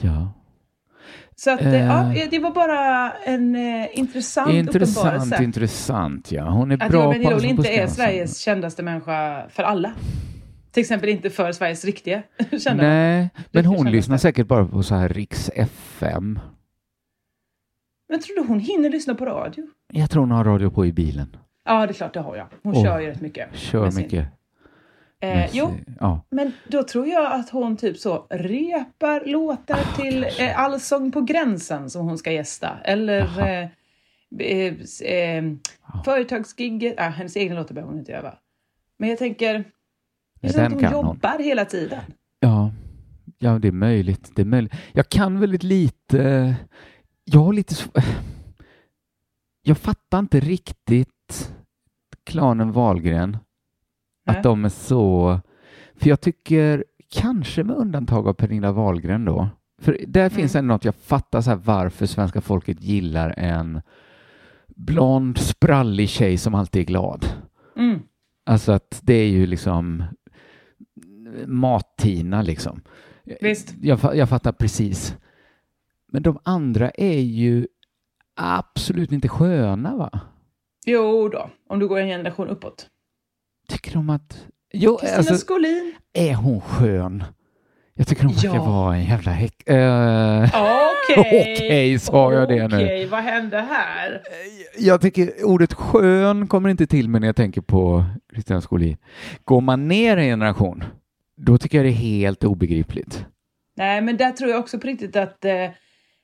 Ja.
Så att, eh,
Eh.
ja, det var bara en eh, intressant,
Intressant,
uppenbarelse.
intressant, ja. Hon är
att
bra
Johan
på
Benjerol
Allsång på
inte är
Skansen.
Sveriges kändaste människa för alla. Till exempel inte för Sveriges riktiga kända.
Nej, men
Riktigt
hon lyssnar
kändaste.
säkert bara på så här Riks FM.
Men tror du hon hinner lyssna på radio?
Jag tror hon har radio på i bilen.
Ja, det är klart det har jag. Hon
Åh,
kör ju rätt mycket.
Kör
med sin-
mycket.
Eh,
med
jo,
sin- Ja.
Men då tror jag att hon typ så repar låtar till eh, Allsång på gränsen som hon ska gästa. Eller
Jaha.
eh, eh, s- eh, företagsgigget. Ah, hennes egna låtar behöver hon inte öva. Men jag tänker, det är som
den
att hon
kan hon.
jobbar hela tiden.
Ja, ja det, är möjligt. det är möjligt. Jag kan väldigt lite. Jag har lite sv- Jag fattar inte riktigt klanen Wahlgren
Nej.
Att de är så... För jag tycker, kanske med undantag av Pernilla Wahlgren då, för där finns ändå något jag fattar så här varför svenska folket gillar en blond, sprallig tjej som alltid är glad.
Mm.
Alltså att det är ju liksom mat-Tina liksom.
Visst.
Jag, fa- jag fattar precis. Men de andra är ju absolut inte sköna va?
Jo då, om du går en generation uppåt.
Tycker de att... Jo,
Kristina
alltså,
Skolin.
är hon skön? Jag tycker hon verkar
Ja.
vara en jävla häck... Eh,
Okej.
Okej, sa jag det nu.
Okej, vad hände här?
Jag tycker ordet skön kommer inte till mig när jag tänker på Christian Skolin. Går man ner en generation, då tycker jag det är helt obegripligt.
Nej, men där tror jag också på riktigt att... Eh,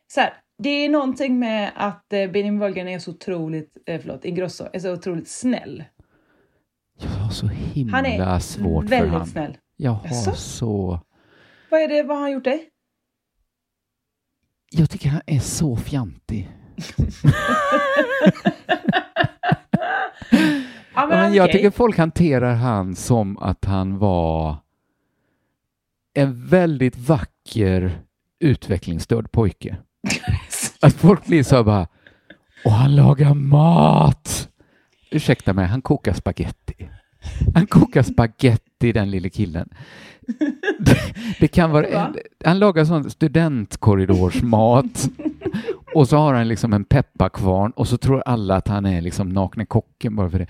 så här, det är någonting med att eh, Benjamin Wahlgren är så otroligt... Eh, förlåt, Ingrosso är så otroligt snäll.
Jag har så himla
Han är
Mm, svårt för
väldigt
han.
snäll.
Jag har
Jaså?
så...
Vad är det, vad har han gjort dig?
Jag tycker han är så fjantig.
Ja,
Ja, men jag
okej.
tycker folk hanterar han som att han var en väldigt vacker utvecklingsstörd pojke. Att folk blir så här bara, och han lagar mat! Ursäkta mig, han kokar spaghetti. Han kokar spaghetti, den lille killen. Det, det kan vara, en, han lagar sån studentkorridorsmat och så har han liksom en pepparkvarn och så tror alla att han är liksom nakne kocken bara för det.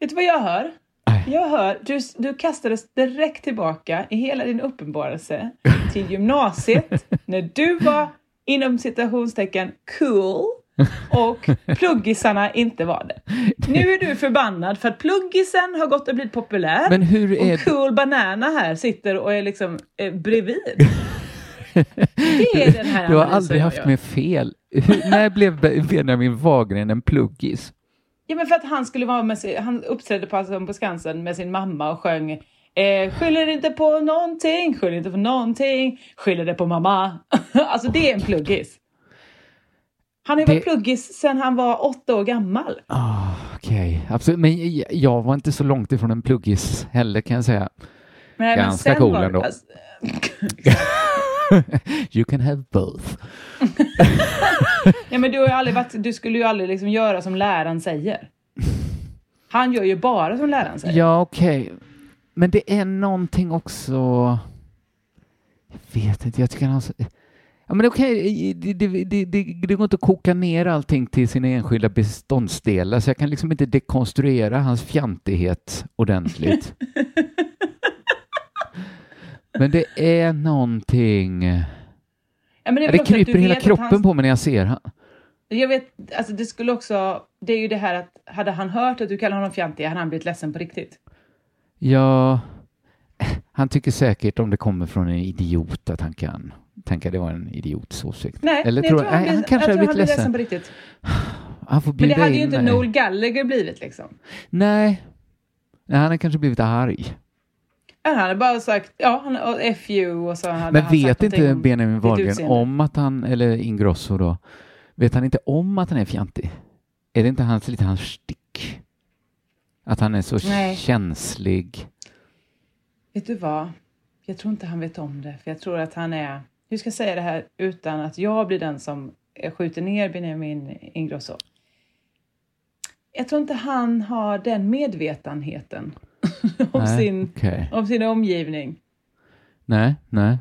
Vet du vad jag hör?
Nej.
Jag hör, du, du kastades direkt tillbaka i hela din uppenbarelse till gymnasiet när du var inom citationstecken cool och pluggisarna inte var det. Nu är du förbannad för att pluggisen har gått och blivit populär
Men hur är
och cool banana här sitter och är liksom eh, bredvid. Det är den här
Du har
analysen
aldrig
jag
haft
gör.
mer fel. Hur, när blev Be- Benjamin Wahlgren en pluggis?
Ja, men för att han skulle vara med sig, han uppträdde på, alltså, på Skansen med sin mamma och sjöng eh, Skyller inte på någonting, skyller inte på någonting, skyller det på mamma. alltså det är en pluggis. Han har ju varit
Det-
pluggis sedan han var åtta år gammal.
Ah, Okej, absolut. Men jag- jag var inte så långt ifrån en pluggis heller kan jag säga.
Nej,
Ganska cool
var det-
ändå.
alltså,
You can have both.
ja, men du, har ju aldrig varit, du skulle ju aldrig liksom göra som läraren säger. Han gör ju bara som läraren säger.
Ja, okej. Men det är någonting också... Jag vet inte, jag tycker han... har så- Ja, men okej, det, det, det, det, det går inte att koka ner allting till sina enskilda beståndsdelar så jag kan liksom inte dekonstruera hans fjantighet ordentligt. men det är någonting...
Ja, men det
Det
är väl också att du
kryper hela
vet att han-
kroppen på mig när jag ser han.
Jag vet, alltså det skulle också, det är ju det här att hade han hört att du kallar honom fjantig hade han blivit ledsen på riktigt.
Ja, han tycker säkert om det kommer från en idiot att han kan tänka det var en idiots åsikt.
Nej,
Eller
nej,
tror,
jag tror
nej, han
blir-
kanske
jag
hade
tror
blivit
han blir
ledsen.
på riktigt.
Han får
Men det
bjuda
hade ju
in
inte
mig.
Noel Gallagher blivit liksom.
Nej. nej, han har kanske blivit arg.
Ja, Han hade bara sagt, ja, han, och F you och så hade
Men
han sagt
vet
någonting
inte
om
Benjamin
ditt
Wahlgren
utseende.
om att han, eller Ingrosso då, vet han inte om att han är fjantig? Är det inte hans, lite hans stick? Att han är så
Nej.
känslig?
Vet du vad? Jag tror inte han vet om det, för jag tror att han är... Hur ska jag säga det här utan att jag blir den som eh, skjuter ner Benjamin Ingrosso? Jag tror inte han har den medvetenheten om,
Nej,
sin,
okej.
om sin omgivning.
Nej, nej.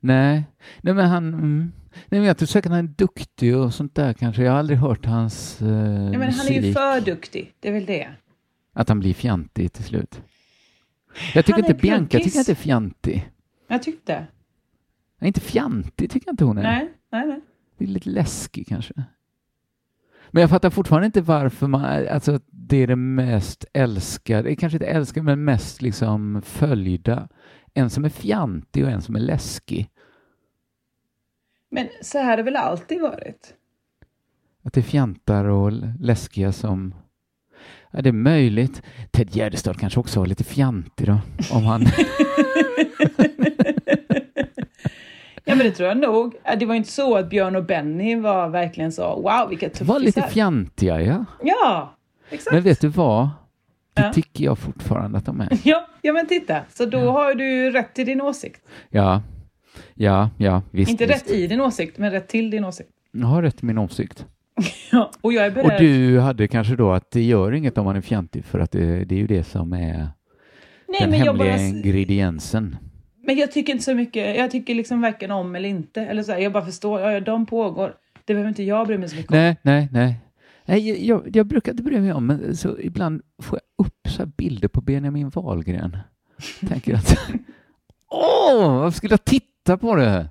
Nej, nej men han... Mm. Nej, men jag tror säkert han är duktig och sånt där kanske. Jag har aldrig hört hans eh,
Ja, men han är ju
musik.
för duktig, det är väl det.
Att han blir fjantig till slut. Jag tycker
Han är
inte Bianca
pluggis.
tycker jag inte är fjantig.
Jag tyckte.
Nej, inte fjantig tycker jag inte hon är.
Nej, nej, nej.
Det är lite läskig kanske. Men jag fattar fortfarande inte varför man... Alltså att det är det mest älskade, kanske inte älskade, men mest liksom följda. En som är fjantig och en som är läskig.
Men så här har det väl alltid varit?
Att det är fjantar och l- läskiga som... Ja, det är möjligt. Ted Gärdestad kanske också var lite fjantig då, om han...
Ja, men det tror jag nog. Ja, Det var ju inte så att Björn och Benny var verkligen så, wow, vilka tuffisar.
var lite fjantiga, ja.
Ja, exakt.
Men vet du vad? Det
Ja.
tycker jag fortfarande att de är.
Ja, ja men titta. Så då har du ju rätt till din åsikt.
Ja, ja, ja visst.
Inte
visst.
rätt i din åsikt, men rätt till din åsikt.
Jag har rätt i min åsikt.
Ja, och jag är
Och
beredd.
du hade kanske då att det gör inget om man är fjantig för att det, det är ju det som är
Nej,
den
men jag,
hemliga
bara,
ingrediensen.
men jag tycker inte så mycket. Jag tycker liksom varken om eller inte. Eller så här, jag bara förstår. Ja, ja, de pågår. Det behöver inte jag bry mig så mycket om.
Nej, nej, nej. nej jag- jag, jag brukar inte bry mig om, men så ibland får jag upp så här bilder på Benjamin Wahlgren. Tänker att, åh, varför skulle jag titta på det?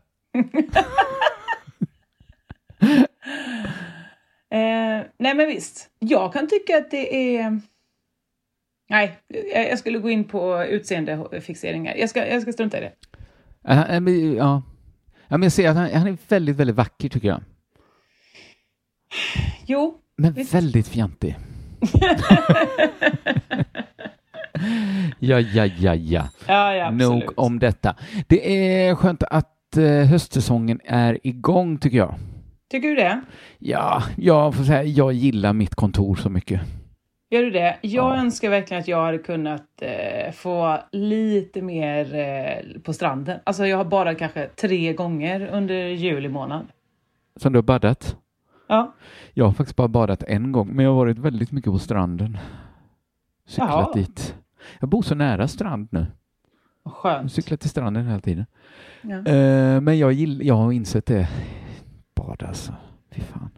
Eh, nej, men visst. Jag kan tycka att det är... Nej, jag jag skulle gå in på utseendefixeringar. Jag ska, jag ska strunta i det.
Ja, han- han blir- Äh, ja. ja men jag ser att han, han är väldigt, väldigt vacker tycker jag.
Jo,
Men
Visst.
väldigt fjantig. ja, ja, ja, ja.
ja, ja, absolut.
Nog om detta. Det är skönt att eh, höstsäsongen är igång tycker jag.
Tycker du det?
Ja, jag får säga, jag gillar mitt kontor så mycket.
Gör du det? Jag
Ja.
önskar verkligen att jag hade kunnat eh, få lite mer eh, på stranden. Alltså jag har bara kanske tre gånger under juli månad.
Som du har badat?
Ja.
Jag har faktiskt bara badat en gång, men jag har varit väldigt mycket på stranden. Cyklat
Jaha.
dit. Jag bor så nära strand nu. Jag
Vad Skönt.
cyklar till stranden hela tiden.
Ja.
Eh, men jag, gill, jag har insett det. Bada alltså. Fy fan.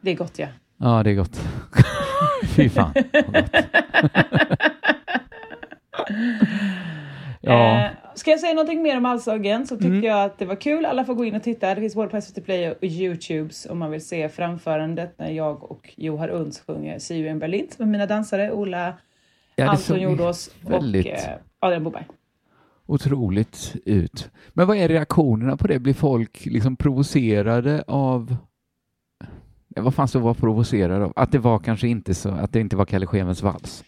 Det är gott ja.
Ja, det är gott. Fy fan. vad gott. ja. Mm.
Eh, ska jag säga någonting mer om Allsången så tycker jag att det var kul. Alla får gå in och titta. Det finns både på SVT Play och Youtubes om man vill se framförandet när jag och Johar Unds sjunger See you in Berlin med mina dansare Ola
ja, det
Anton
såg
Jordås och
väldigt
eh, Adrian Boberg.
otroligt ut. Men vad är reaktionerna på det? Blir folk liksom provocerade av... Ja, Vad fanns det att vara provocerad av? Att det var kanske inte så, att det inte var Kalle Schewens vals.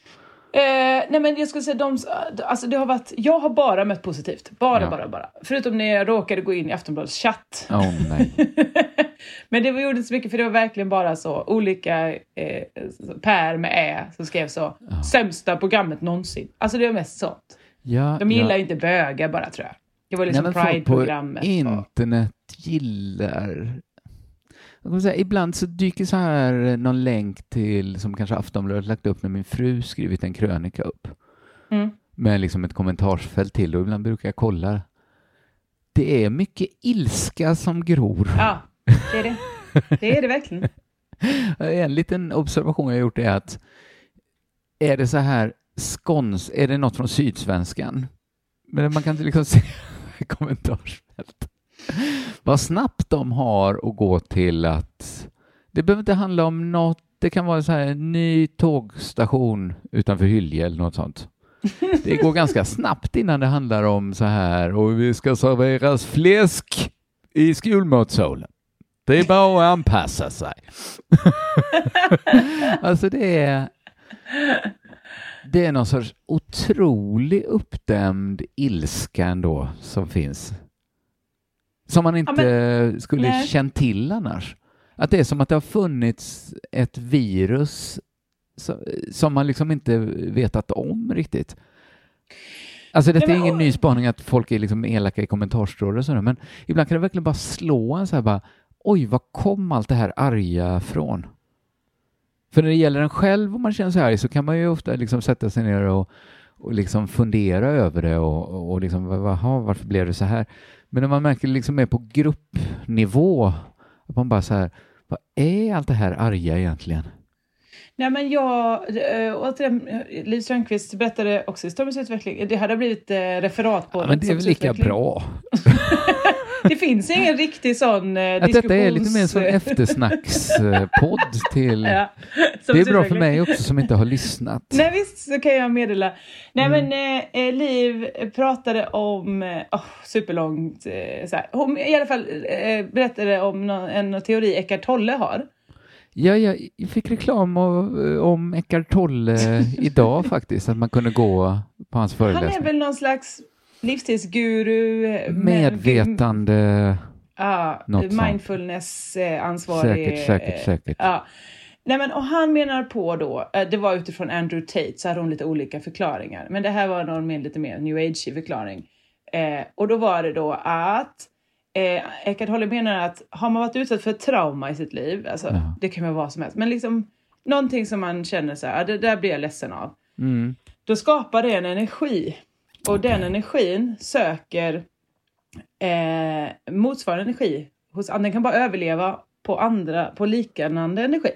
Eh, nej men jag skulle säga de, alltså det har varit, jag har bara mött positivt. Bara,
Ja.
bara, bara. Förutom när jag råkade gå in i Aftonbladets chatt.
Åh nej.
men det var- gjorde inte så mycket för det var verkligen bara så olika eh, Per med Ä som skrev så. Sämsta programmet någonsin. Alltså det var mest sånt.
Ja,
De gillar
ja.
ju inte bögar bara tror jag. Det var
Nej,
liksom
men folk på
Pride-programmet. och-
internet gillar... Jag kommer säga, ibland så dyker så här eh, någon länk till som kanske Aftonbladet lagt upp när min fru skrivit en krönika upp.
Mm.
Med liksom ett kommentarsfält till och ibland brukar jag kolla. Det är mycket ilska som gror.
Ja, det är det. Det är det verkligen.
Eh, En liten observation jag gjort är att är det så här skåns, är det något från Sydsvenskan? Men man kan inte liksom se i kommentarsfält. Vad snabbt de har att gå till att det behöver inte handla om något, det kan vara så här en ny tågstation utanför Hylje eller något sånt. Det går ganska snabbt innan det handlar om så här och vi ska serveras fläsk i skolmatsalen. Det är bara att anpassa sig. Alltså det är... Det är någon sorts otrolig uppdämd ilska ändå som finns. Som man inte skulle
nej.
känt till annars. Att det är som att det har funnits ett virus som, som man liksom inte vetat om riktigt. Alltså detta
Nej,
är
men-
ingen ny spaning att folk är liksom elaka i kommentarsstrålar och sådär, men ibland kan det verkligen bara slå en så här bara, oj, var kom allt det här arga från? För när det gäller en själv och man känner sig arg så kan man ju ofta liksom sätta sig ner och, och liksom fundera över det och, och- och liksom, vaha, varför blev det så här? Men när man märker det liksom mer på gruppnivå, att man bara så här, vad är allt det här arga egentligen?
Nej, men jag, äh, återigen, eh, Liv Strömquist berättade också i Stormens utveckling, det hade blivit eh, referat på
Ja, men det är väl
Stormens
lika
utveckling.
bra.
Det finns ingen riktig sån eh,
Att detta är lite mer
diskussions-
som en eftersnackspodd till...
Ja,
Det är
Stormens
bra för
utveckling.
mig också som inte har lyssnat.
Nej visst, så kan jag meddela. Nej
Mm.
men eh, eh, Liv pratade om, eh, åh, superlångt, eh, så här. hon i alla fall eh, berättade om någon, en teori Eckart Tolle har.
Ja, jag fick reklam av, om Eckart Tolle idag faktiskt, att man kunde gå på hans
Han är
föreläsning.
väl någon slags livsstilsguru, eh, men-
Medvetande...
Ja,
Något sånt.
mindfulness-ansvarig. eh,
Säkert, säkert, säkert.
Ja. Nej, men, och han menar på då, eh, det var utifrån Andrew Tate, så hade hon lite olika förklaringar. Men det här var någon mer, lite mer new age förklaring. Eh, och då var det då att eh, Eckart Holle menar att har man varit utsatt för ett trauma i sitt liv, alltså,
Ja.
det kan ju vara vad som helst, men liksom någonting som man känner så här, "Ah, det där blir jag ledsen av.
Mm.
Då skapar det en energi och den energin söker eh, motsvarande energi hos andra. Den kan bara överleva på andra, på liknande energi.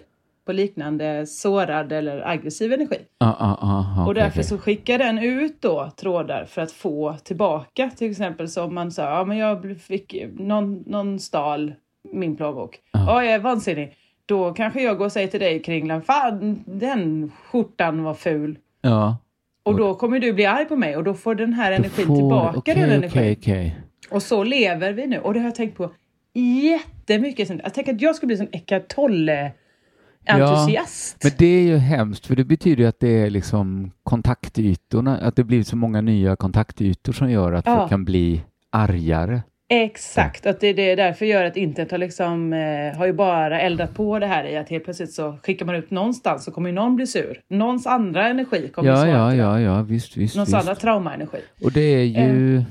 På liknande sårad eller aggressiv energi.
Ah, ah, ah, ah,
och
okej,
därför
okej.
så skickar den ut då trådar för att få tillbaka. Till exempel som man sa, ja men jag blev- fick någon, någon stal min plånbok. Ja, jag är vansinnig. Då kanske jag går och säger till dig Kringlan, fan den skjortan var ful.
Ja.
Och då kommer du bli arg på mig och då får den här energin
Får-
tillbaka
okej,
den
okej,
energin.
okej.
Och så lever vi nu. Och det har jag tänkt på jättemycket. sen. Jag tänker att jag skulle bli som Eckart Tolle-entusiast.
Men det är ju hemskt, för det betyder ju att det är liksom kontaktytorna, att det blir så många nya kontaktytor som gör att
Ja.
folk kan bli argare.
Exakt, att det, det är därför gör att internet har, liksom, eh, har ju bara eldat på det här i att helt plötsligt så skickar man ut någonstans så kommer ju någon bli sur. Någons andra energi kommer
Ja,
svara
ja,
till det.
ja, ja, visst, visst.
Någons
visst.
andra traumaenergi.
Och det är
Eh.
ju...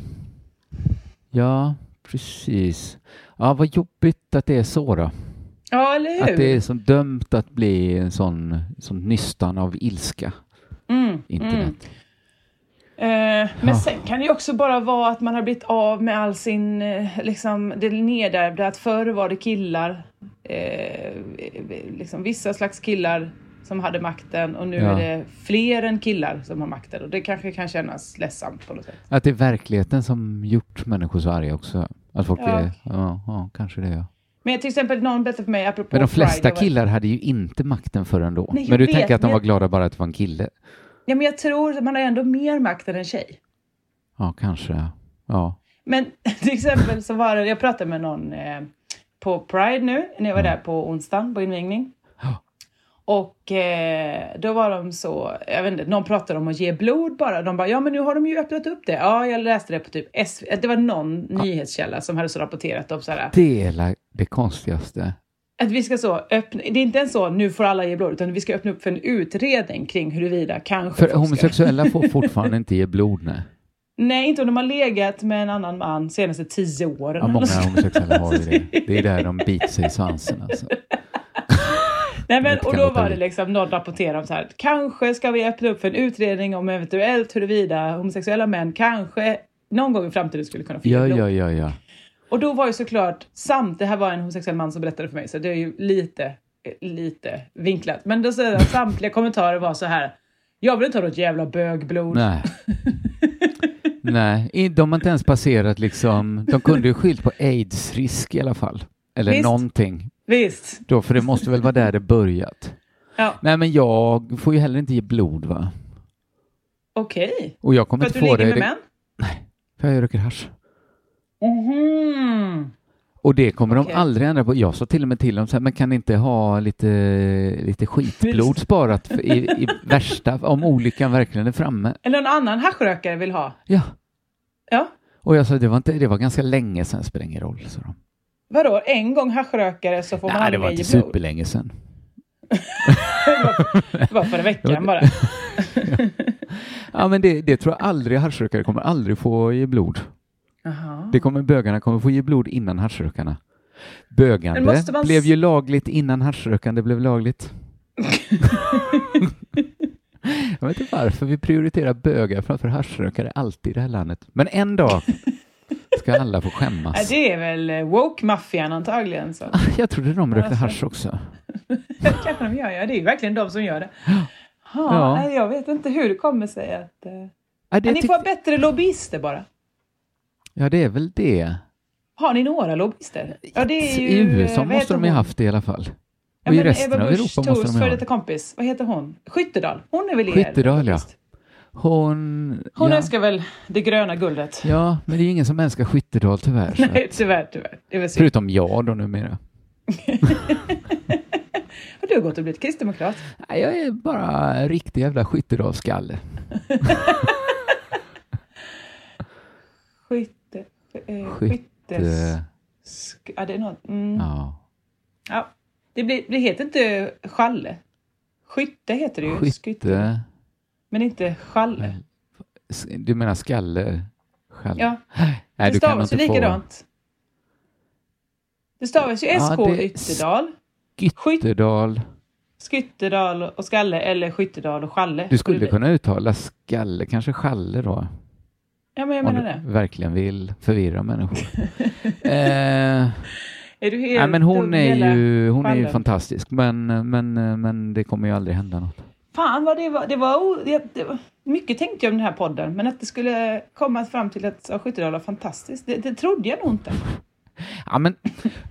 Ja, precis. Ja, vad jobbigt att det är så då.
Ja, eller hur?
Att det är som dömt att bli en sån, sån nystan av ilska,
Mm,
internet.
Eh, men
Ja.
sen kan det ju också bara vara att man har blivit av med all sin, eh, liksom, det nedärvda. Att förr var det killar, eh, liksom vissa slags killar som hade makten och nu
Ja.
är det fler än killar som har makten. Och det kanske kan kännas ledsamt på något sätt.
Att det är verkligheten som gjort människor så arga också. Att folk
Ja.
är... Ja, ja, kanske det. Ja.
Men till exempel någon berättade för mig apropå
Men de flesta
Pride,
killar hade ju inte makten förrän då.
Nej, jag
men du
vet,
tänker att de
men
var
jag-
glada bara att det var en kille?
Ja, men jag tror att man har ändå mer makt än en tjej.
Ja, kanske. ja. Ja.
Men till exempel så var det, jag pratade med någon eh, på Pride nu, när jag var där på onsdagen på invigning.
Mm. Ja.
Och eh, då var de så, jag vet inte, någon pratade om att ge blod bara. De bara, ja men nu har de ju öppnat upp det. Ja, jag läste det på typ SV, det var någon nyhetskälla som hade så rapporterat om så här,
Det är la- det konstigaste.
att vi ska så öppna, det är inte ens så nu får alla ge blod, utan vi ska öppna upp för en utredning kring huruvida kanske
För
folk ska-
homosexuella får fortfarande inte ge blod, nej.
Nej, inte om de har legat med en annan man senaste tio åren.
Ja, många homosexuella har ju det. Det är där de biter sig i svansen alltså.
Nej, men,
inte
och
kan
då
låta
var det
bli.
liksom någon rapporterade om så här, kanske ska vi öppna upp för en utredning om eventuellt huruvida homosexuella män kanske någon gång i framtiden skulle kunna få ge
Ja,
blod.
ja, ja, ja.
Och då var ju såklart samt, det här var en homosexuell man som berättade för mig, så det är ju lite, eh, lite vinklat. Men då säger han, samtliga kommentarer var så här, jag vill inte ha något jävla bögblod.
Nej. Nej, i- de har inte ens passerat liksom... De kunde ju skilt på aids-risk i alla fall. Eller
Visst.
någonting.
Visst?
Då, för det måste väl vara där det börjat.
Ja,
Nej, men jag får ju heller inte ge blod, va?
okej.
Och jag kommer
För att
inte
du
få
ligger
det.
med
det
män?
För jag röker hasch.
Mhm.
Och det kommer
Okej.
de aldrig ändra på. Jag sa till och med till dem så här, men kan ni inte ha lite, lite skitblod sparat för- i, i värsta, om olyckan verkligen är framme?
Eller någon annan haschrökare vill ha?
Ja.
Ja.
Och jag sa, det var, inte, det var ganska länge sedan, spelar ingen roll, sa de.
Vadå, en gång haschrökare så får man
Nej, det
aldrig
var
ge
inte
blod?
superlänge sedan.
Det var förra veckan bara.
Ja, men det, det tror jag aldrig, haschrökare kommer aldrig få ge blod.
Jaha.
Det kommer, bögarna kommer få ge blod innan haschrökarna.
Men
Bögande
måste man s-
blev ju lagligt innan haschrökande blev lagligt. Jag vet inte varför vi prioriterar bögar framför haschrökare alltid i det här landet. Men en dag ska alla få
Ja,
skämmas.
det är väl eh, woke-maffian antagligen. Så.
Jag trodde de rökte
Alltså.
hasch också.
kanske de gör, ja. Det är ju verkligen de som gör det. Ha,
Ja.
nej, jag vet inte hur det kommer sig att... eh,
Ja, det,
ni får
tyck-
ha bättre lobbyister bara.
ja, det är väl det.
Har ni några lobbyister? Ja, det är ju,
I USA
eh, vad
måste
heter
de ju
hon?
haft det i alla fall.
Ja,
Och i
men
resten
Ebba
av
Busch
Europa måste
Thors
de ju
före
ha
detta
det.
kompis, vad heter hon? Skyttedal. Hon är väl er
Skyttedal, ja.
lobbyist?
Hon...
Hon
ja.
önskar väl det gröna guldet?
ja, men det är ju ingen som älskar Skyttedal tyvärr. så att-
Nej, tyvärr, tyvärr. Det är väl synd.
Förutom jag då numera.
Har du gått och blivit kristdemokrat?
Nej, jag är bara en riktig jävla skyttedalskalle.
Skytte... Eh,
Skytte-
skyttes... Sk- ja, det är något. Mm.
Eh, Ja.
Ja. Det, blir, det heter inte challe. Skytte heter det ju. Skytte.
Skytte.
Men inte challe.
S- Du menar skalle? Själv.
Ja,
Nej,
det
du kan
stavas ju
inte få
likadant. Det stavas ju
Ja,
SK
det-
Ytterdal,
Gytterdal.
Skyttedal och Skalle eller Skyttedal och Challe.
Du skulle kunna uttala skalle, kanske schalle då.
Ja, men jag
Om
menar
du
det.
verkligen vill förvirra människor. eh,
Är du helt
nej, men
dum
hon
i hela-
är ju, hon är ju
fallen.
fantastisk, men, men, men det kommer ju aldrig hända något.
Fan vad det var. Det var, o- det, det var... Mycket tänkte jag om den här podden, men att det skulle komma fram till att ja, Skyttedal var fantastiskt, det, det trodde jag nog inte.
Ja, men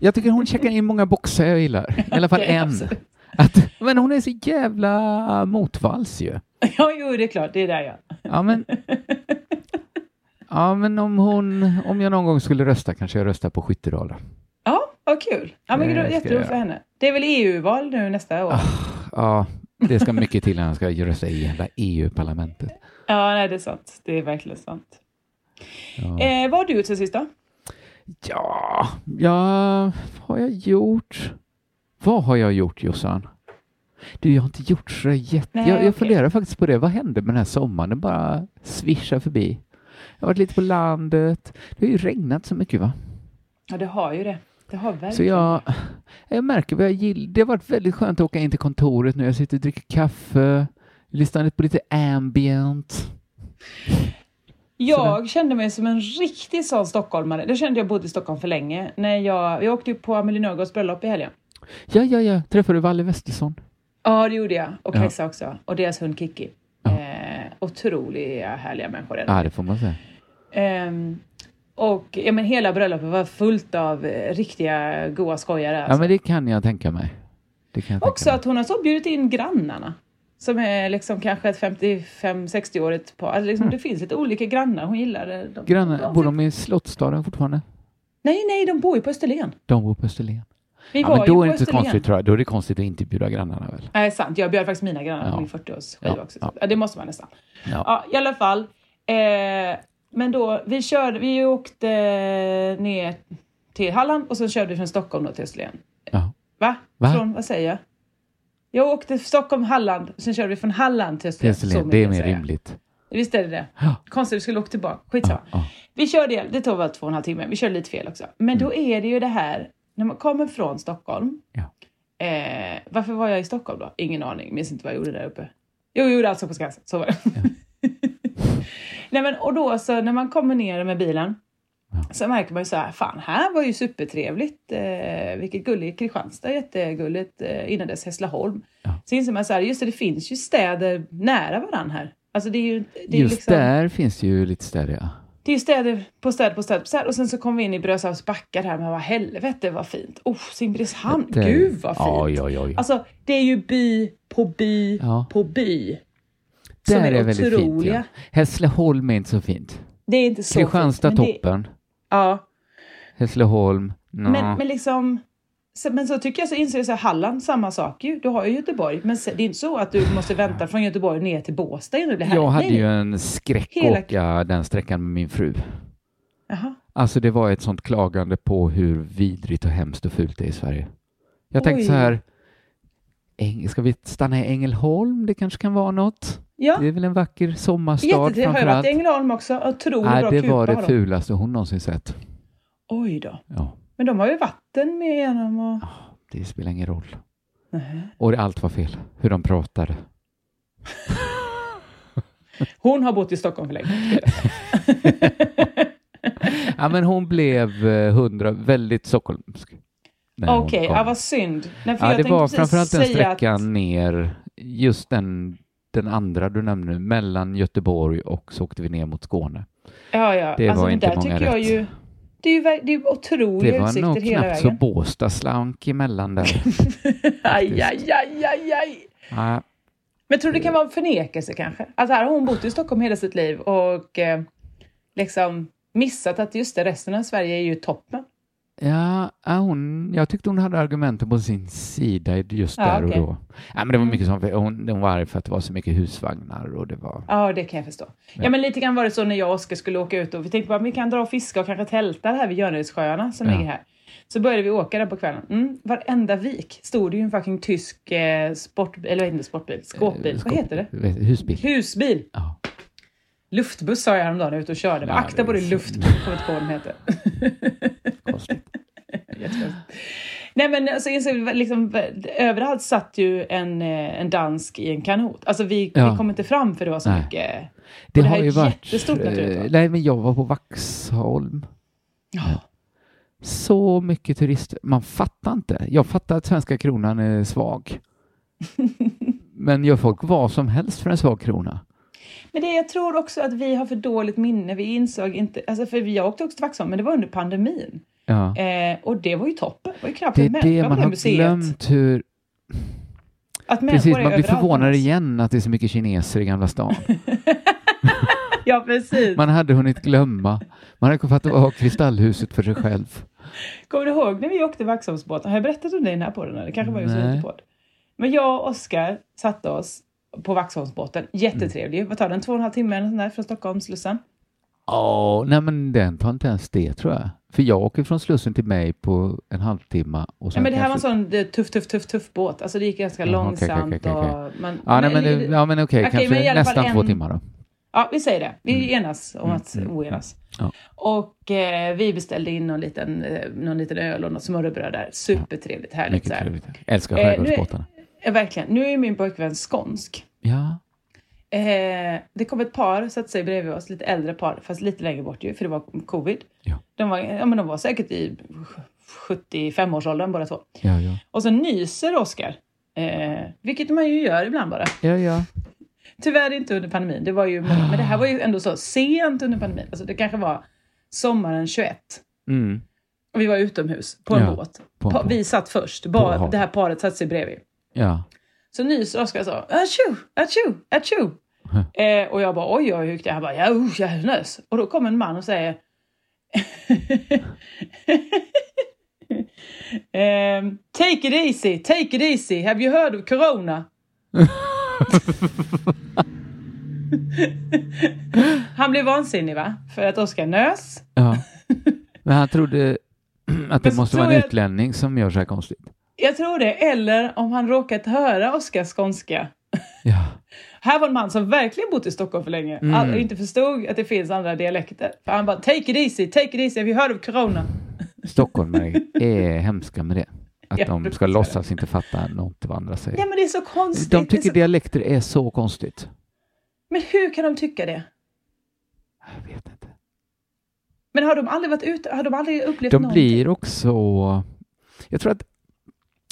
jag tycker hon checkar in många boxar jag gillar. I alla fall
Okej,
en.
absolut.
Att, men hon är så jävla motvalls ju.
Ja, jo, det är klart, det är där jag.
Ja, men, ja, men om, hon, om jag någon gång skulle rösta kanske jag röstar på Skyttedal. då.
Ja, vad kul. Ja, men
Det
det
ska jag Ah.
jätteroligt
göra.
för henne. Det är väl EU-val nu nästa år?
Ja, det ska mycket till när jag ska rösta i hela E EU-parlamentet.
Ja, nej, det är sant. Det är verkligen sant.
Ja.
Eh, vad har du gjort sen sist då?
Ja, ja, vad har jag gjort? Vad har jag gjort Jossan? Du, jag har inte gjort så jätte...
Nej,
jag, jag
okej.
funderar faktiskt på det. Vad hände med den här sommaren? Den bara svischar förbi. Jag har varit lite på landet. Det har ju regnat så mycket va?
Ja, det har ju det. Det har verkligen.
Så jag, jag märker vad jag gillar. Det har varit väldigt skönt att åka in till kontoret nu. Jag sitter och dricker kaffe, lyssnar lite på lite ambient.
jag kände mig som en riktig sån stockholmare. Det kände jag bodde i Stockholm för länge. När jag, jag åkte ju på Amelie Nergårds bröllop i helgen.
Ja, ja, ja. Träffade du Valle Westesson?
Ja, det gjorde jag. Och
Ja.
Kajsa också. Och deras hund Kiki. Eh, otroliga härliga människor. är de.
Ja, det får man säga.
Ehm, och ja, men hela bröllopet var fullt av eh, riktiga goa skojare.
Ja,
Alltså.
men det kan jag tänka mig. Det kan jag tänka
Också
mig.
att hon har så bjudit in grannarna. Som är liksom kanske ett 55-60-årigt par. Alltså liksom, Det finns lite olika grannar. Hon gillar eh, dem.
Mm. Grannar,
De-
bor de i Slottsstaden fortfarande?
Nej, nej, de bor ju på Österlen.
De bor på Österlen.
Vi
Ja,
var
men
ju
då
på
är det inte så
Österlen.
konstigt, tror jag. Då är det konstigt att inte bjuda grannarna väl?
Nej, sant. Jag bjöd faktiskt mina grannar
Ja.
på min 40-årsskiva
Ja,
också.
ja.
Ja, det måste man nästan.
Ja.
Ja, I alla fall. Eh, men då, vi körde, vi åkte ner till Halland och sen körde vi från Stockholm då till Österlen.
Ja.
Va?
Va?
Från, vad säger jag? Jag åkte från Stockholm, Halland, och sen körde vi från Halland till
Till
Österlen. Så
Österlen,
mycket
det är
kan
mer
jag säga.
rimligt.
Visst är det det?
Ja.
Konstigt, vi skulle åka tillbaka. Skitsamma.
ja.
Vi körde, igen. det tog väl två och en halv timme, vi körde lite fel också. Men då är det ju det här, när man kommer från Stockholm.
Mm. Ja.
Eh, varför var jag i Stockholm då? Ingen aning, minns inte vad jag gjorde där uppe. Jo, jag gjorde alltså på Skansen, så var det. Nej, men, och då så när man kommer ner med bilen så märker man ju så här, fan här var ju supertrevligt, eh, vilket gulligt, Kristianstad är jättegulligt, eh, innan dess Hässleholm. Så inser man så här, just det, det finns ju städer nära varandra här. Alltså det är ju, det är
Just
liksom,
där finns ju lite städer, ja.
det är ju städer på städer på städer på städer och sen så kom vi in i Brösarps backar här, men vad helvete vad fint. Oh, Simrishamn,
Det-
gud vad fint.
Oj, oj, oj.
Alltså det är ju by på by
Ja.
på by.
Där
som är
väldigt fint,
otroliga.
ja. Hässleholm är inte så fint.
Det är inte så
Kristianstad
fint, men det-
toppen.
Ja,
Hässleholm, nå.
Men, men liksom... så- Men så tycker jag så inser jag så här, Halland, samma sak ju. Du har ju Göteborg, men se- det är inte så att du måste vänta från Göteborg ner till Båstad innan du blir här.
Jag hade
Nej,
ju
nej.
en skräck
Hela-
att åka den sträckan med min fru.
Jaha.
Alltså det var ett sånt klagande på hur vidrigt och hemskt och fult det är i Sverige. Jag tänkte
Oj.
så här, Äng- ska vi stanna i Ängelholm? Det kanske kan vara något.
Ja,
Det är väl en vacker sommarstad
jättetrevligt. Har jag varit
framförallt.
i Ängelholm också? Otroligt
Nej,
bra
det
kupa
var
har
det
de.
fulaste hon någonsin sett.
Oj då.
Ja,
Men de har ju vatten med igenom och...
det spelar ingen roll.
Nej.
Och det- allt var fel, hur de pratade.
Hon har bott i Stockholm för länge.
Ja, men hon blev eh, hundra, väldigt stockholmsk. när hon
Okej,
kom.
ja, vad synd. Nej, för
Ja,
jag
det
tänkte
var
precis
framförallt den
säga att-
sträckan ner, just den, den andra du nämnde, nu, mellan Göteborg och så åkte vi ner mot Skåne.
Ja, ja. alltså,
Det var
men
inte
där
många
tycker jag
rätt.
ju... Det är ju, ver- det är ju
Det
otroliga
var
utsikter
nog
hela
knappt så
vägen.
Båstad slank emellan där.
Aj, aj, aj, aj, aj.
ja,
Men tror du det kan vara en förnekelse kanske? Att här har hon bott i Stockholm hela sitt liv och eh, liksom missat att just det, resten av Sverige är ju toppen.
ja, ja, hon, jag tyckte hon hade argumenten på sin sida just
Ja,
där
okej. Mm.
och då. Ja, men det var mycket som, hon, hon var arg för att det var så mycket husvagnar och det var...
Ja, det kan jag förstå. Ja. men lite grann var det så när jag och Oskar skulle åka ut och vi tänkte bara vi kan dra och fiska och kanske tälta här vid Jönödssjöarna som
Ja.
ligger här. Så började vi åka där på kvällen. Mm, varenda vik stod det ju en fucking tysk eh, sport, eller inte
Eh,
sportbil, skåpbil. Vad heter det?
Vet- Husbil.
Husbil.
Ja.
Luftbuss sa jag häromdagen när jag var ute och körde. Men
Nej,
akta
det
på
är
det,
så-
luftbuss. Jag kommer inte på vad de heter.
Konstigt.
Jättekonstigt. Nej men alltså, jag ser liksom, överallt satt ju en, eh, en dansk i en kanot. Alltså vi,
Ja.
vi kom inte fram för det var så
Nej.
mycket.
Det,
här
har
är
ju
ett
varit...
jättestort naturligt,
eh,
va?
Nej, men jag var på Vaxholm.
Ja.
Så mycket turister. Man fattar inte. Jag fattar att svenska kronan är svag. men gör folk vad som helst för en svag krona?
Men det, jag tror också att vi har för dåligt minne. Vi insåg inte, alltså för jag åkte också till Vaxholm men det var under pandemin.
Ja.
Eh, och det var ju toppen. Det var ju knappt
Det
en
är
människa
det
på
man
det
har
museet.
glömt hur...
Att människor
Precis,
är
man blir
överallt.
förvånad igen att det är så mycket kineser i Gamla stan.
Ja, precis.
Man hade hunnit glömma. Man hade kunnat ha Kristallhuset för sig själv.
Kommer du ihåg när vi åkte Vaxholmsbåten? Har jag berättat om det i den här podden? Eller? Det kanske var just
Nej.
en podd. Men jag och Oskar satte oss på Vaxholmsbåten. Jättetrevlig. Vad tar den? Två och en halv timme eller sånt där från Stockholm, Slussen?
Ja, nej men den tar inte ens det tror jag. För jag åker från Slussen till mig på en halvtimme och sen
Nej, men det här var en
kanske-
sån eh, tuff, tuff, tuff, tuff båt. Alltså det gick ganska
Jaha, okej, okej,
långsamt
okej, okej.
och... Man,
Ja, nej, men, det- ja, men okej,
Okej,
kanske
men i alla fall
nästan två
en-
timmar då.
Ja, vi säger det. Vi enas om att
mm,
oenas.
Ja.
Och eh, vi beställde in någon liten, eh, någon liten öl och något smörrebröd där. Supertrevligt, härligt.
Mycket
Så här.
trevligt. Älskar
Eh, nu är-
skärgårdsbåtarna.
Ja, verkligen. Nu är min pojkvän skånsk.
Ja,
Eh, det kom ett par, satte sig bredvid oss, lite äldre par, fast lite längre bort ju, för det var covid.
Ja.
De, var, ja, men de var säkert i 75-årsåldern båda två.
ja, ja.
Och så nyser Oskar, eh, vilket man ju gör ibland bara.
Ja, ja.
Tyvärr inte under pandemin, det var ju, men det här var ju ändå så sent under pandemin. Alltså det kanske var sommaren 21.
Mm.
Och vi var utomhus på en
Ja,
båt.
på en
Pa-
båt.
Vi satt först, bara,
havet.
det här paret satte sig bredvid.
Ja,
Så nyser Oskar så, atjo, atjo, atjo. Eh, och jag bara, oj, oj, hur gick det? Han bara, ja, usch, jag nös. Och då kommer en man och säger... Ehm, take it easy, take it easy, have you heard of corona? Han blev vansinnig va? För att Oskar nös.
ja. Men han trodde att det
så
måste
tror
vara en
jag-
utlänning som gör så här konstigt.
Jag tror det, eller om han råkat höra Oskars skånska.
Ja,
Här var en man som verkligen bott i Stockholm för länge
Mm.
all- och inte förstod att det finns andra dialekter. För han bara “Take it easy, take it easy, have you heard of corona?”
stockholmare är hemska med det. Att
Ja,
de
precis.
ska låtsas inte fatta något vad andra säger.
Ja men det är så konstigt.
de
det är
tycker
så...
dialekter är så konstigt.
Men hur kan de tycka det?
Jag vet inte.
Men har de aldrig varit ute? Har de aldrig upplevt
De
någonting?
blir också... Jag tror att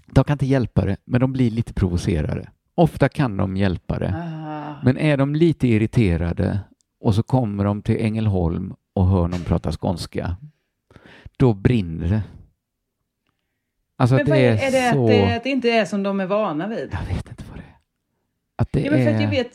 de kan inte hjälpa det, men de blir lite provocerade. Ofta kan de hjälpa det.
Ah.
Men är de lite irriterade och så kommer de till Ängelholm och hör någon prata skånska, då brinner det. Alltså
Men
att
vad
det
är,
är,
är det
så...
att, det att det inte är som de är vana vid?
Jag vet inte vad det är. Att det
Ja, men för
är...
att jag vet,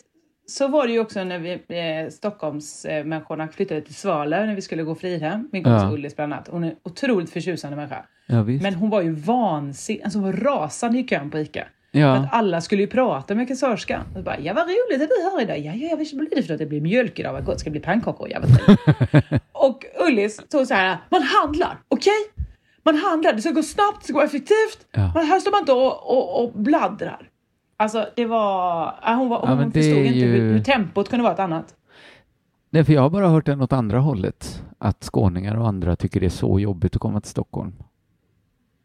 så var det ju också när vi eh, Stockholmsmänniskorna eh, människorna flyttade till Svalöv när vi skulle gå Fridhem. Min kompis
Ja.
Ullis bland annat. Hon är en otroligt förtjusande människa.
Ja, visst.
Men hon var ju vansinnig, alltså hon var rasande i kön på ICA. För
ja.
att alla skulle ju prata med kassörskan. Och bara, ja vad roligt att du är här idag. Ja, ja, vad blir det för något? Det blir mjölk idag, vad gott. Ska det bli pannkakor? Ja, vad trevligt." och Ullis tog så här, man handlar, okej? Man handlar, det ska gå snabbt, det ska gå effektivt.
Ja.
Man, här står man inte och, och, och bladdrar. Alltså det var, ja, hon, var,
Ja,
hon
men det
förstod
är
inte
ju-
hur, hur tempot kunde vara ett annat.
Nej, för jag har bara hört den åt andra hållet. Att skåningar och andra tycker det är så jobbigt att komma till Stockholm.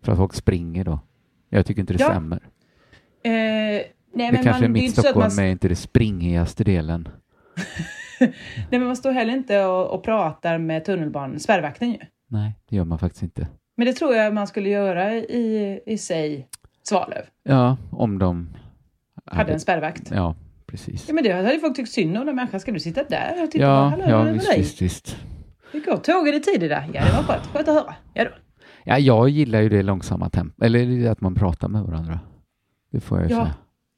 För att folk springer då. Jag tycker inte det
Ja,
stämmer.
Eh, nej,
Det
men
kanske
man,
är
det är
mitt
inte så att
Stockholm
man,
är inte det springigaste delen.
nej, men man står heller inte och, och pratar med tunnelbanan, spärrvakten ju.
Nej, det gör man faktiskt inte.
Men det tror jag man skulle göra i, i sig Svalöv.
Ja, om de...
Hade en spärrvakt.
Ja, precis.
Ja, men det hade folk tyckt synd om. Den människan, ska du sitta där och titta?
Ja,
Hallå,
ja
hur är det med
visst,
dig?
visst, visst.
Hur går tåget i tid idag? Ja, det var skönt. Skönt att höra. Ja, då.
Ja, jag gillar ju det långsamma tempot, eller det att man pratar med varandra. Det får jag ju
Ja.
säga.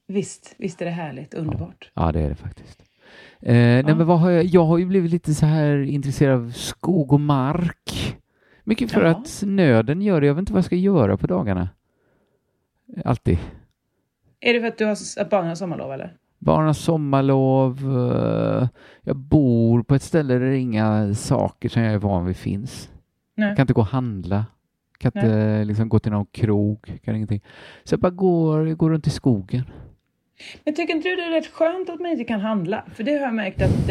Visst, visst är det härligt. Underbart.
Ja, det är det faktiskt. Eh, nej, men vad har jag, jag har ju blivit lite så här intresserad av skog och mark. Mycket för
Ja.
att nöden gör det. Jag vet inte vad jag ska göra på dagarna. Alltid.
Är det för att du har s- att barnen har sommarlov eller?
Barnen har sommarlov. eh, Jag bor på ett ställe där inga saker som jag är van vid finns.
Nej.
Jag kan inte gå och handla. Kan inte liksom gå till någon krog, kan ingenting. Så jag bara går, går runt i skogen.
Men tycker inte du det är rätt skönt att man inte kan handla? För det har jag märkt att eh,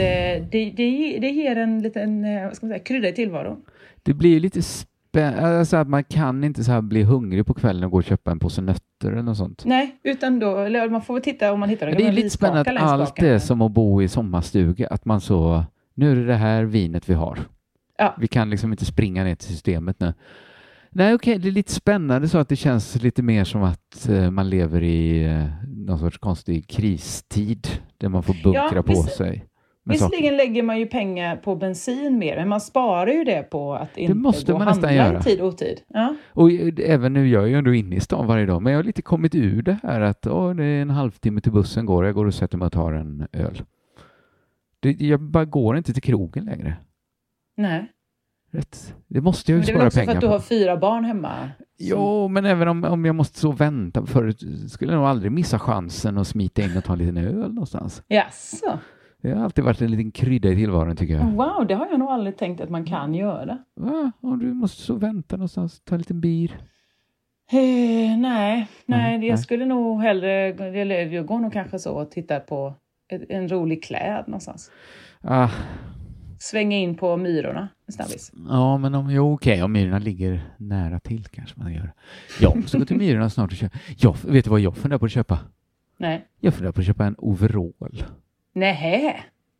det, det, det ger en liten eh, vad ska man säga, krydda i tillvaron.
Det blir lite spännande, alltså att man kan inte så här bli hungrig på kvällen och gå och köpa en påse nötter eller något sånt.
Nej, utan då, eller man får väl titta om man hittar
Men det är
gamla
lite
vinskakar
spännande att
längs
allt
baken.
är som att bo i sommarstuga, att man så, nu är det det här vinet vi har.
Ja.
Vi kan liksom inte springa ner till systemet nu. Nej, okej, det är lite spännande så att det känns lite mer som att eh, man lever i eh, någon sorts konstig kristid där man får bunkra
Ja,
på
visst-
sig. med saker.
Visserligen lägger man ju pengar på bensin mer, men man sparar ju det på att inte
måste
gå och
man nästan
handla
göra.
i tid och otid. Ja.
Och eh, även nu, jag är ju ändå inne i stan varje dag, men jag har lite kommit ur det här att åh, det är en halvtimme till bussen går, jag går och sätter mig och tar en öl. Det, jag bara går inte till krogen längre.
Nej.
Rätt. Det måste jag
Men
ju
det är
spara
väl också för
pengar
att du har
på.
fyra barn hemma?
Jo, men även om, om jag måste så vänta, förut skulle jag nog aldrig missa chansen att smita in och ta en liten öl någonstans.
Jaså?
Det har alltid varit en liten krydda i tillvaron tycker jag.
Wow, det har jag nog aldrig tänkt att man kan göra.
Va? Om du måste så vänta någonstans, ta en liten bir.
Eh, nej, nej,
Nej,
jag
nej.
skulle nog hellre... Eller jag går nog kanske så och tittar på ett, en rolig kläd någonstans.
Ah,
Svänga in på Myrorna en snabbis.
Ja, men om, jo, okej, om myrorna ligger nära till kanske man gör. Jag måste gå till myrorna snart och köpa. Jag, vet du vad jag funderar på att köpa?
Nej.
Jag funderar på att köpa en overall.
Nähä!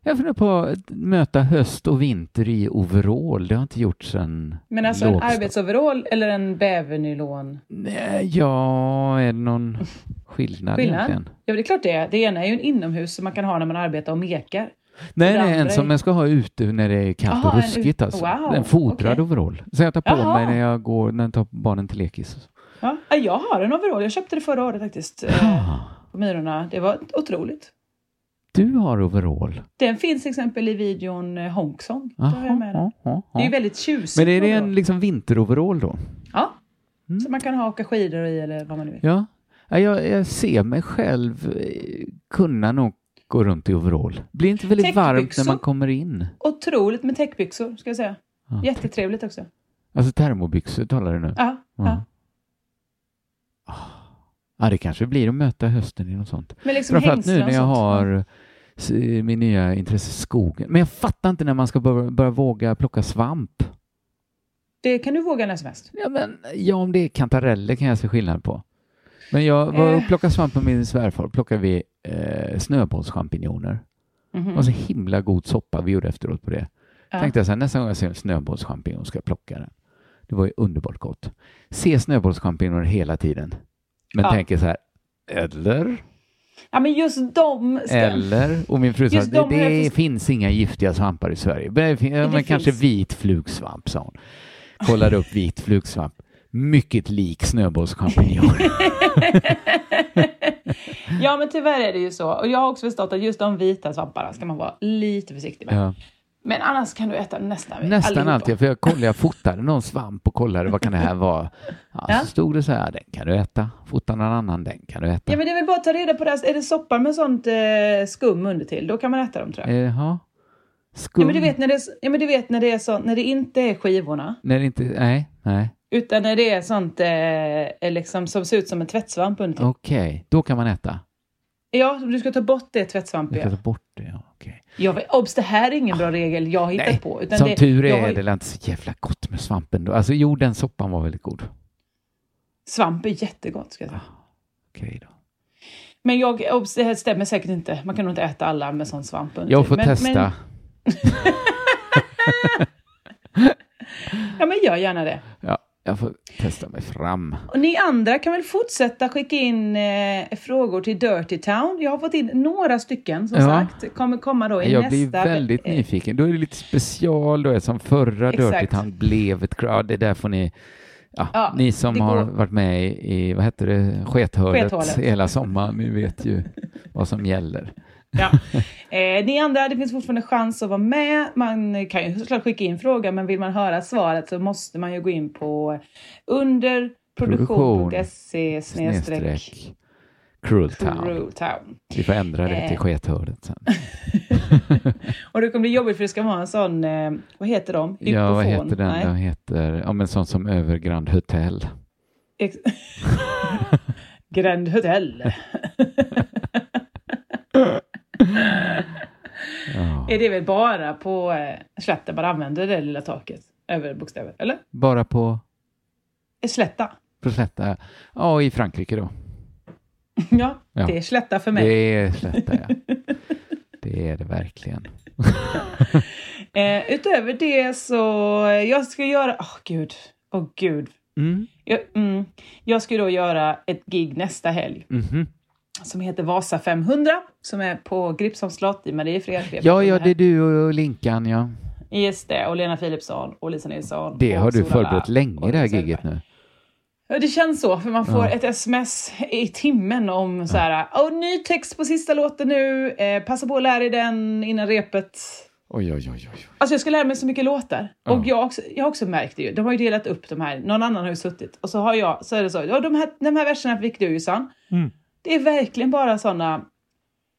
Jag funderar på att möta höst och vinter i overall. Det har jag inte gjort sedan
Men alltså en
lågstad-
arbetsoverall eller en bävernylon?
Nej, ja, är det någon skillnad,
Skillnad?
egentligen?
Ja, det är klart det är. Det ena är ju en inomhus som man kan ha när man arbetar och mekar.
Nej,
Det
nej, en
andra
som
är-
jag ska ha ute när det är kallt och
Aha, en
ruskigt.
ut-
Alltså.
wow,
en fodrad
okej.
overall. Så jag tar på
Jaha.
mig när jag går, när jag tar barnen till lekis.
Ja, ja, jag har en overall. Jag köpte det förra året faktiskt. eh,
Ah,
På Myrorna. Det var otroligt.
du har overall.
Den finns till exempel i videon eh, Honksong. Då har jag med den.
Aha, aha,
Det är ju
aha.
väldigt tjusigt.
Men är det en
overall.
liksom vinteroverall då?
Ja.
Mm.
Som man kan ha och åka skidor i eller vad man nu vill.
Ja. Ja, Jag, jag ser mig själv eh, kunna nog gå runt i overall. Blir inte väldigt varmt när
Täckbyxor.
man kommer in?
Otroligt med täckbyxor, ska jag säga.
Ja.
Jättetrevligt också.
Alltså termobyxor talar du nu?
Ja,
Ja.
ja.
Ja, det kanske blir att möta hösten i något sånt.
Men liksom
Framförallt nu
hängslen och
när jag
sånt.
har s- eh, min nya intresse skogen. Men jag fattar inte när man ska börja, börja våga plocka svamp.
Det kan du våga när som helst.
Ja, men, ja, om det är kantareller kan jag se skillnad på. Men jag var och
Eh.
plockade svamp med min svärfar. Plockade vi eh, snöbollschampinjoner. Det
Mhm.
var Mm-hmm. så himla god soppa vi gjorde efteråt på det.
Ja.
Tänkte jag så här, nästa gång jag ser en snöbollschampinjon ska jag plocka den. Det var ju underbart gott. Se snöbollschampinjoner hela tiden. Men
Ja.
tänker så här, eller,
Ja, men just de ska...
eller. Och min fru sa,
Just
det,
de har jag
det
först-
finns inga giftiga svampar i Sverige. Men, det fin- ja,
Det
men kanske
finns.
vit flugsvamp, sa hon. Kollade upp vit flugsvamp. Mycket lik snöbollschampinjon.
Ja, men tyvärr är det ju så. Och jag har också förstått att just de vita svamparna ska man vara lite försiktig med.
ja.
Men annars kan du äta nästan
Nästan
allihopa.
alltid, för jag kollade, jag fotade någon svamp och kollade vad kan det här vara. Ja,
Ja.
Så stod det så här, den kan du äta. Fota någon annan, den kan du äta.
Ja, men det är väl bara att ta reda på det. här. Är det soppa med sånt eh, skum under till, då kan man äta dem tror jag.
Jaha. Skum.
Ja, men du vet när det, är s- ja, men du vet när det är så, när det inte är skivorna,
När det inte, nej, nej.
utan när det är sånt eh, är liksom, som ser ut som en tvättsvamp under till.
Okej, då kan man äta.
Ja, du ska ta bort det
Du
tvättsvampiga.
kan ta bort det, ja. okej.
Jag vet, obs, det här är ingen bra regel jag har hittat
Ah. Nej,
på. Utan
Som
det,
tur
jag
är
har-
det är inte så jävla gott med svampen då. Alltså jo, den soppan var väldigt god.
Svamp är jättegott, ska jag
Ah.
säga.
Okej då.
Men jag, obs, det här stämmer säkert inte. Man kan nog inte äta alla med sån svamp under
Jag
till.
får
men,
testa.
Men, ja, men gör gärna det.
Ja, jag får testa mig fram.
Och ni andra kan väl fortsätta skicka in eh, frågor till Dirty Town. Jag har fått in några stycken som
Ja.
sagt. Kommer komma då i
Jag
nästa...
blir väldigt
eh,
nyfiken. Då är det lite special då, som förra
Exakt.
Dirty Town blev ett crowd. Det där får ni, ja,
Ja,
ni som
det
har
går-
varit med i, i, vad heter det, skethålet,
Skethålet.
hela sommaren, ni vet ju vad som gäller.
Ja. Eh, ni andra, det finns fortfarande chans att vara med. Man kan ju såklart skicka in frågan, men vill man höra svaret så måste man ju gå E in på underproduktion.se snedstreck
Cruel Town.
Cruel Eh, Town.
Vi får ändra det till skethörnet sen.
Och det kommer bli jobbigt för det ska vara en sån, eh, vad heter de?
Ja, vad
Hypofon.
heter den?
Nej.
Den heter, ja men sånt som över Grand Hotel.
Ex- Grand Hotel.
Ja.
Är det väl bara på eh, slätten man använder det lilla taket? Över bokstäver, eller?
Bara på
Är Slätta.
på slätta. Ja, i Frankrike då.
Ja,
Ja.
det är slätta för mig.
Det är slätta, ja. Det är det verkligen.
Eh, utöver det så, eh, jag ska göra, åh gud, åh gud.
Mm.
Jag, mm, jag ska ju då göra ett gig nästa helg
mhm.
som heter Vasa 500 som är på Gripsholms slott i Mariefred.
Ja, ja, det är du och Linkan, ja.
Just det, och Lena Philipsson och Lisa Nilsson.
Det
och
har du
Solala
förberett länge,
och
det här
Lisa
giget nu.
Söderberg. Ja, det känns så, för man får ett sms i timmen om så här, "Åh, ny text på sista låten nu, eh, passa på att lära dig den innan repet.
Oj, oj, oj, oj.
Alltså jag ska lära mig så mycket låtar.
Ja.
Och jag, har också, jag har också märkt det ju, de har ju delat upp de här, någon annan har ju suttit och så har jag, så är det så, ja, de, här, de här verserna fick du Jossan.
Mm.
Det är verkligen bara sådana,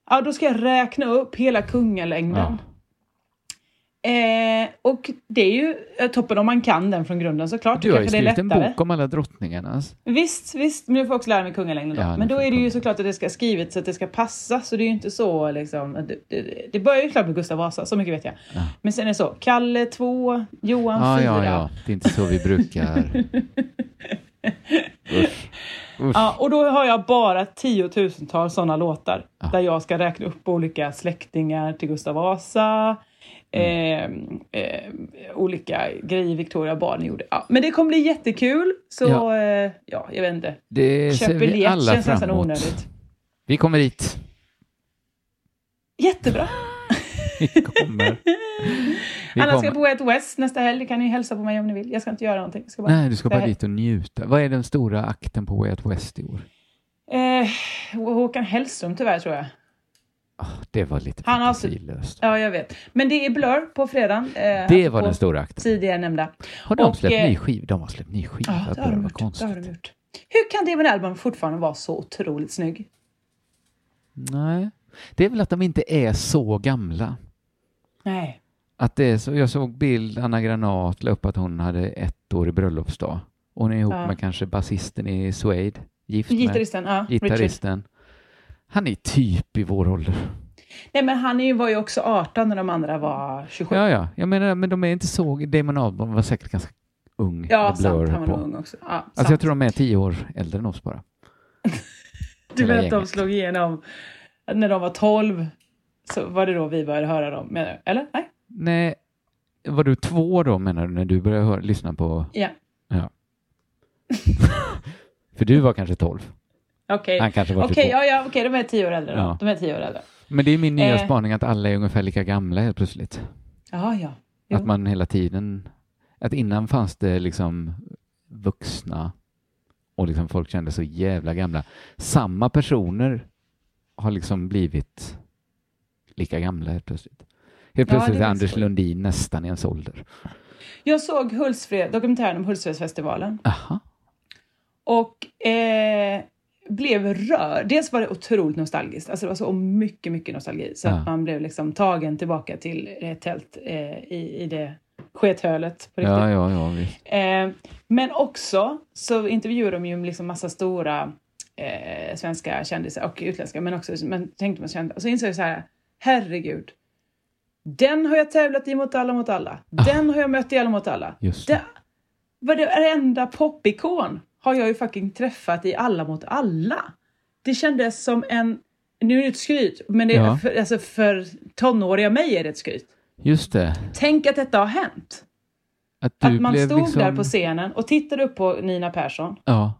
ja då ska jag räkna upp hela kungalängden. Eh, och det är ju eh, toppen om man kan den från grunden såklart.
Du har ju
Kanske det är
skrivit en
lättare.
bok om alla drottningarnas.
Visst, visst, men jag får också lära mig kungalängden då.
Ja, nu
men då
får
är
du
det ju
kunga.
såklart att det ska skrivas så att det ska passa, så det är ju inte så liksom. att Det, det, det börjar ju klart med Gustav Vasa, så mycket vet jag. Men sen är det så, Kalle 2, Johan 4.
Ja, ja, ja. Det är inte så vi brukar. Usch. Usch.
Ja, och då har jag bara tiotusentals sådana låtar där jag ska räkna upp olika släktingar till Gustav Vasa,
Mm.
eh, eh, olika grejer Victoria Barn gjorde. Ja, men det kommer bli jättekul, så
Ja.
ja, eh, ja jag vet inte.
Det ser
Köp
vi
biljett
alla
känns nästan
framåt.
onödigt.
Vi kommer dit.
Jättebra!
Vi kommer. Vi
Anna ska
kommer.
bo på ett West nästa helg. Det kan ni hälsa på mig om ni vill. Jag ska inte göra någonting. Jag ska bara...
Nej, du ska bara dit och njuta. Vad är den stora akten på Way Out West i år?
Eh, Håkan Hellström tyvärr tror jag.
Ah, det var lite
Han har- alltså-
fantasilöst.
Ja, jag vet. Men det är Blur på fredagen. Eh,
Det var
på
den stora akten.
Tidigare nämnda.
Har de
och,
släppt
eh,
ny skiva? De har släppt ny skiva.
Ja, det har,
Bra,
de
vad
gjort. det har de
konstigt.
gjort. Hur kan David Alban fortfarande vara så otroligt snygg?
Nej. Det är väl att de inte är så gamla.
Nej.
Att det är så, jag såg bild, Anna Granat la upp att hon hade ett år i bröllopsdag. Och Hon är ihop
Ja.
med kanske basisten i Suede, gift med
Gitarristen, ja. Richard.
gitarristen. Han är typ i vår ålder.
Nej, men han är ju- var ju också 18 när de andra var 27.
Ja, ja, jag menar, men de är inte så, Damon Albarn var säkert ganska ung. när
Ja,
Blur
sant.
höll
Han var
på.
nog ung också. Ja,
Alltså jag
sant.
tror de är tio år äldre än oss bara.
Du
hela
vet att de
gänget.
slog igenom när de var 12. Så var det då vi började höra dem. menar du? Eller? Nej?
Nej, var du två då menar du när du började hör, lyssna på,
Ja.
för du var kanske tolv?
Okej.
Han kanske var
Okej,
typ två.
ja, ja, okej, de är tio år äldre då.
Ja.
De är tio år äldre.
Men det är min nya
Eh.
spaning att alla är ungefär lika gamla helt plötsligt.
Ja, ja. Jo.
Att man hela tiden, att innan fanns det liksom vuxna och liksom folk kände så jävla gamla. Samma personer har liksom blivit lika gamla helt plötsligt. Helt
Ja, det är
plötsligt är
väl
Anders
så.
Lundin nästan i ens ålder.
Jag såg Hultsfred, dokumentären om Hultsfredsfestivalen
Aha.
och eh, blev rörd. Dels var det otroligt nostalgiskt. Alltså det var så mycket, mycket nostalgi. Så
Ja.
att man blev liksom tagen tillbaka till ett tält eh, i, i det skethölet på riktigt.
Ja, ja, ja, visst.
Eh, men också så intervjuar de ju liksom massa stora eh, svenska kändisar och utländska, men också men tänkte man kände, och så insåg jag så här, herregud. Den har jag tävlat i mot alla mot alla. Den har jag mött i alla mot alla.
Just
Det, varenda popikon har jag ju fucking träffat i alla mot alla. Det kändes som en, nu är det ett skryt, men det,
Ja.
för, alltså för tonåriga mig är det ett skryt.
Just det.
Tänk att detta har hänt.
Att, du
Att man
blev
stod
liksom,
där på scenen och tittade upp på Nina Persson.
Ja.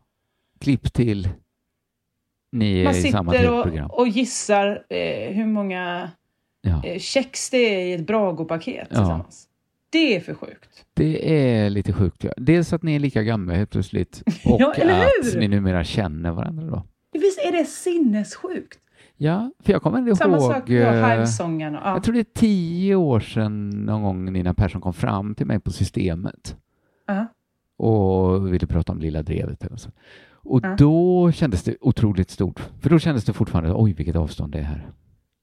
Klipp till. Ni är i
Man
samma typ
sitter
tv-program.
och, och gissar eh, hur många
Ja.
eh, kex det är i ett Brago-paket
Ja.
tillsammans. Det är för sjukt.
Det är lite sjukt. Ja. Dels att ni är lika gamla helt plötsligt och
Ja, eller
att
hur?
ni numera känner varandra då.
Visst är det sinnessjukt?
Ja, för jag kommer ändå
Samma
ihåg...
sak med
eh,
Hive-sångarna. Ja.
Jag tror det är tio år sedan någon gång Nina Persson kom fram till mig på Systemet
Ja.
och ville prata om Lilla Drevet eller så. Och då kändes det otroligt stort, för då kändes det fortfarande, oj vilket avstånd det är här.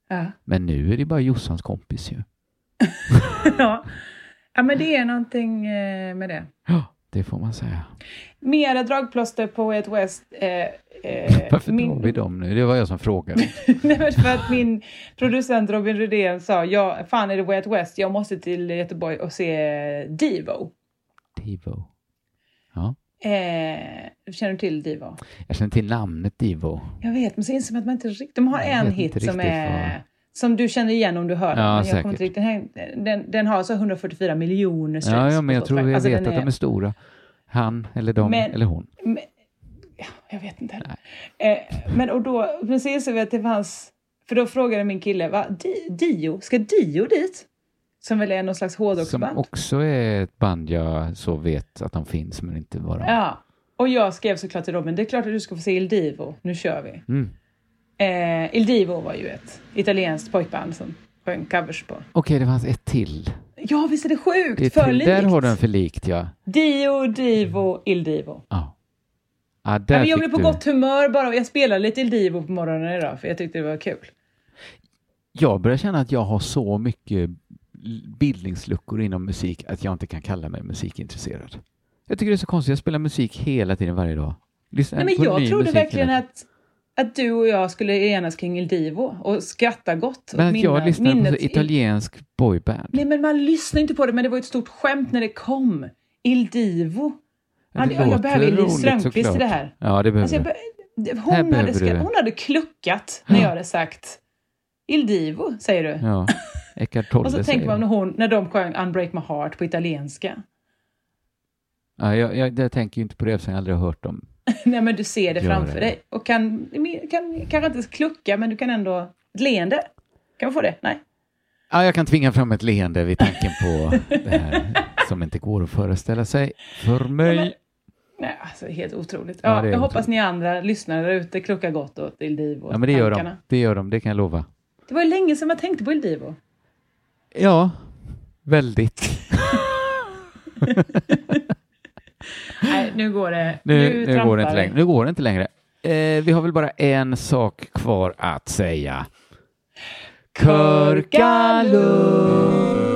Ja.
Men nu är det bara Jossans kompis ju.
ja. ja, men det är någonting eh, med det.
Ja, det får man säga.
Mera dragplåster på ett West. Eh, eh,
Varför
min-
drar vi dem nu? Det var jag som frågade.
Nej, men för att min producent Robin Rydén sa, ja, fan är det Way Out West, jag måste till Göteborg och se eh, Divo.
Divo.
Eh, känner du till Divo?
Jag känner till namnet Divo.
Jag vet, men så inser man att man inte riktigt... De har
Jag
en
vet inte
hit som
riktigt
är...
vad-
Som du känner igen om du hör den.
Ja,
men jag kommer inte
säkert.
riktigt, ihåg. den, den har så 144 miljoner streams
Ja, ja, men
på
jag tror
Spotify.
jag
Alltså,
vet
den
att de är stora. Han eller de
Men-
eller hon.
Men, ja, jag vet inte heller. Eh, men och då, precis så vet det fanns... För då frågade min kille, va, Di, Dio, ska Dio dit? Som väl är någon slags
Som
hårdrocksband?
också är ett band jag så vet att de finns men inte vad de...
Ja. Och jag skrev såklart till Robin, det är klart att du ska få se Il Divo, nu kör vi.
Mm.
Eh, Il Divo var ju ett italienskt pojkband som sjöng covers på.
Okej, det fanns ett till.
Ja, visst är det sjukt?
Det är
för
till.
likt.
Där har du en för likt, ja.
Dio, Divo, Il Divo.
Ja. ja där
Ja, men jag
fick
blev på
du.
gott humör bara och jag spelade lite Il Divo på morgonen idag för jag tyckte det var kul.
Jag börjar känna att jag har så mycket bildningsluckor inom musik att jag inte kan kalla mig musikintresserad. Jag tycker det är så konstigt, jag spelar musik hela tiden varje dag. Lyssnar
Nej, men
på ny
jag trodde
musik hela
verkligen
tiden.
att, att du och jag skulle enas kring Il Divo och skratta gott.
Men
och
att jag
minna-
lyssnar på så
minnet-
italiensk boyband.
Nej, men man lyssnar inte på det, men det var ju ett stort skämt när det kom. Il Divo. Ja, det- jag behöver Liv Strömquist i det här.
Ja, det behöver
Alltså jag,
du.
be- det-
Här
hon, hade
behöver
skri-
du.
hon hade kluckat när jag hade sagt Il Divo, säger du.
Ja, Eckart
Och så
Tolle
tänker
säger
man när,
jag.
Alltså, hon, när de sjöng Unbreak My Heart på italienska.
Ja, jag, jag, jag tänker ju inte på det eftersom jag aldrig har hört dem.
Nej, men du ser det
Gör
framför
det.
dig. Och kan, kan kanske inte klucka, men du kan ändå... Ett leende. Kan man få det? Nej.
Ja, jag kan tvinga fram ett leende vid tanken på det här som inte går att föreställa sig för mig.
men- Nej, alltså helt otroligt.
Ja,
Ja,
det är
jag
otroligt.
hoppas ni andra lyssnare där ute kluckar gott åt Il Divo.
ja, men det gör de.
tankarna.
Det gör de, det kan jag lova.
Det var ju länge sedan man tänkte på Il Divo.
Ja, väldigt.
Nej, nu går det.
Nu, nu, går,
trampar
det inte
vi.
längre. nu går det inte längre. Eh, vi har väl bara en sak kvar att säga. Körkalund!